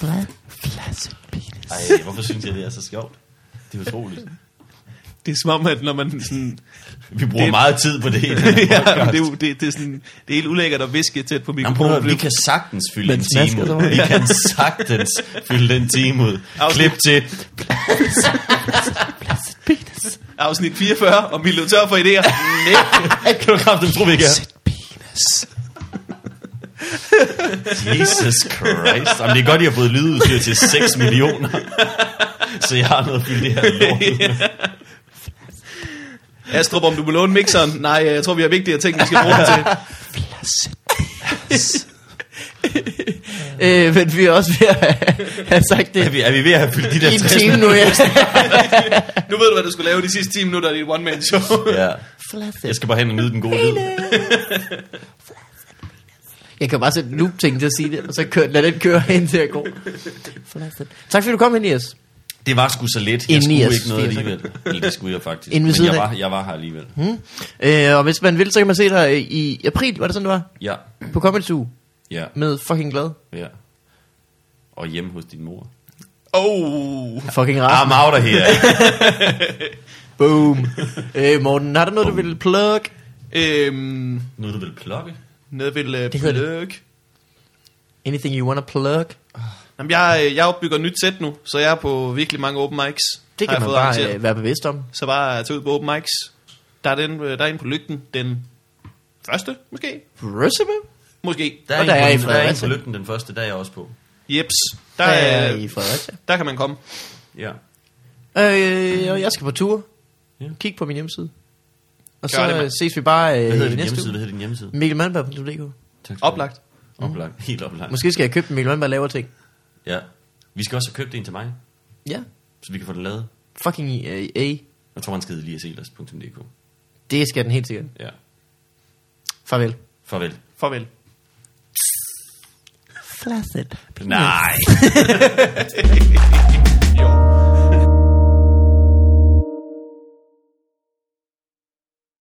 A: Fla- Flaccid penis.
C: Ej, hvorfor synes jeg, det er så sjovt? Det er utroligt.
B: Det er som om, at når man [LAUGHS] sådan...
C: Vi bruger
B: Det-
C: det... meget tid på det. i den [LAUGHS] her
B: ja, men
C: podcast.
B: det, er jo- det, det, er sådan, det er helt ulækkert at viske tæt på
C: Jamen, prøv at, høre, vi
B: mikrofonen.
C: kan sagtens fylde
A: Man
C: en
A: smasker
C: time
A: sig
C: ud.
A: over.
C: Vi kan sagtens fylde den time ud.
B: Afsnit.
C: Klip til.
A: Flaccid penis.
B: Afsnit 44, om vi løb tør for idéer. Nej.
C: Kan du kraft, dem tror vi ikke er.
A: Flaccid penis.
C: Jesus Christ. Jamen, det er godt, I har fået lydudstyr til 6 millioner. Så jeg har noget at fylde det her lort. ud.
B: [LAUGHS] Astrup, om du må låne mixeren? Nej, øh, jeg tror, vi har vigtigere ting, vi skal bruge den til.
A: Øh, men vi er også ved at [LAUGHS] have sagt det
C: Er vi, er vi ved at have fyldt de der
A: i en
C: 60
A: time nu. Ja.
B: Nu ved du, hvad du skulle lave de sidste 10 minutter i et [LAUGHS] one-man-show.
C: Ja.
A: Flaccid.
C: Jeg skal bare hen og nyde den gode lyd.
A: Jeg kan bare sætte en loop-ting til at sige det, og så kør, lad den køre [LAUGHS] ind til at gå. Tak fordi du kom, Elias.
C: Det var sgu så lidt.
A: En
C: Jeg skulle
A: niers,
C: ikke noget
A: firs.
C: alligevel. Eller det skulle jeg faktisk.
A: Inden ved
C: Men
A: siden
C: jeg
A: af.
C: var, jeg var her alligevel.
A: Øh, og hvis man vil, så kan man se dig i april, var det sådan, det var?
C: Ja.
A: På Comedy Zoo
C: Ja.
A: med fucking glad.
C: Ja. Og hjemme hos din mor.
B: Oh.
A: Fucking rar.
C: I'm out of here.
A: Boom. øh, Morten, har du noget, du vil plug?
B: Øhm,
C: Noget, du vil plukke?
B: noget vil øh,
A: Det hedder det.
B: plukke.
A: Anything you wanna plug?
B: Jamen, jeg, øh, jeg opbygger nyt sæt nu, så jeg er på virkelig mange open mics.
A: Det
B: har jeg
A: kan man
B: fået
A: bare
B: arrangeret.
A: øh, være bevidst om.
B: Så bare tage ud på open mics. Der er, den, øh, der er en på lygten den første, måske.
A: Røsebe?
B: Måske.
C: Der er,
A: Og
C: en,
A: der
C: på-
A: er i
C: der er en
A: Fredericia.
C: på lygten den første, der er jeg også på.
B: Jeps. Der,
A: Der
B: er,
A: er i Fredericia.
B: der kan man komme.
C: Ja.
A: Øh, og jeg skal på tur.
C: Ja.
A: Kig på min hjemmeside. Og
B: Gør
A: så
B: det,
A: øh,
B: mand.
A: ses vi bare øh,
C: Hvad hedder din
A: næste
C: hjemmeside?
A: uge.
C: Hvad hedder din hjemmeside?
A: Mikkelmandberg.dk
C: Tak skal du have.
B: Oplagt.
C: Oplagt. [LAUGHS] Helt oplagt.
A: Måske skal jeg købe en Mikkel Malmberg laver ting.
C: Ja. Vi skal også have købt en til mig,
A: Ja.
C: så vi kan få den lavet.
A: Fucking øh, A.
C: Jeg tror, man skal lige eliaselers.dk.
A: Det skal den helt sikkert.
C: Ja.
A: Farvel.
C: Farvel.
B: Farvel.
A: Flaccid.
C: Nej.
B: Jo.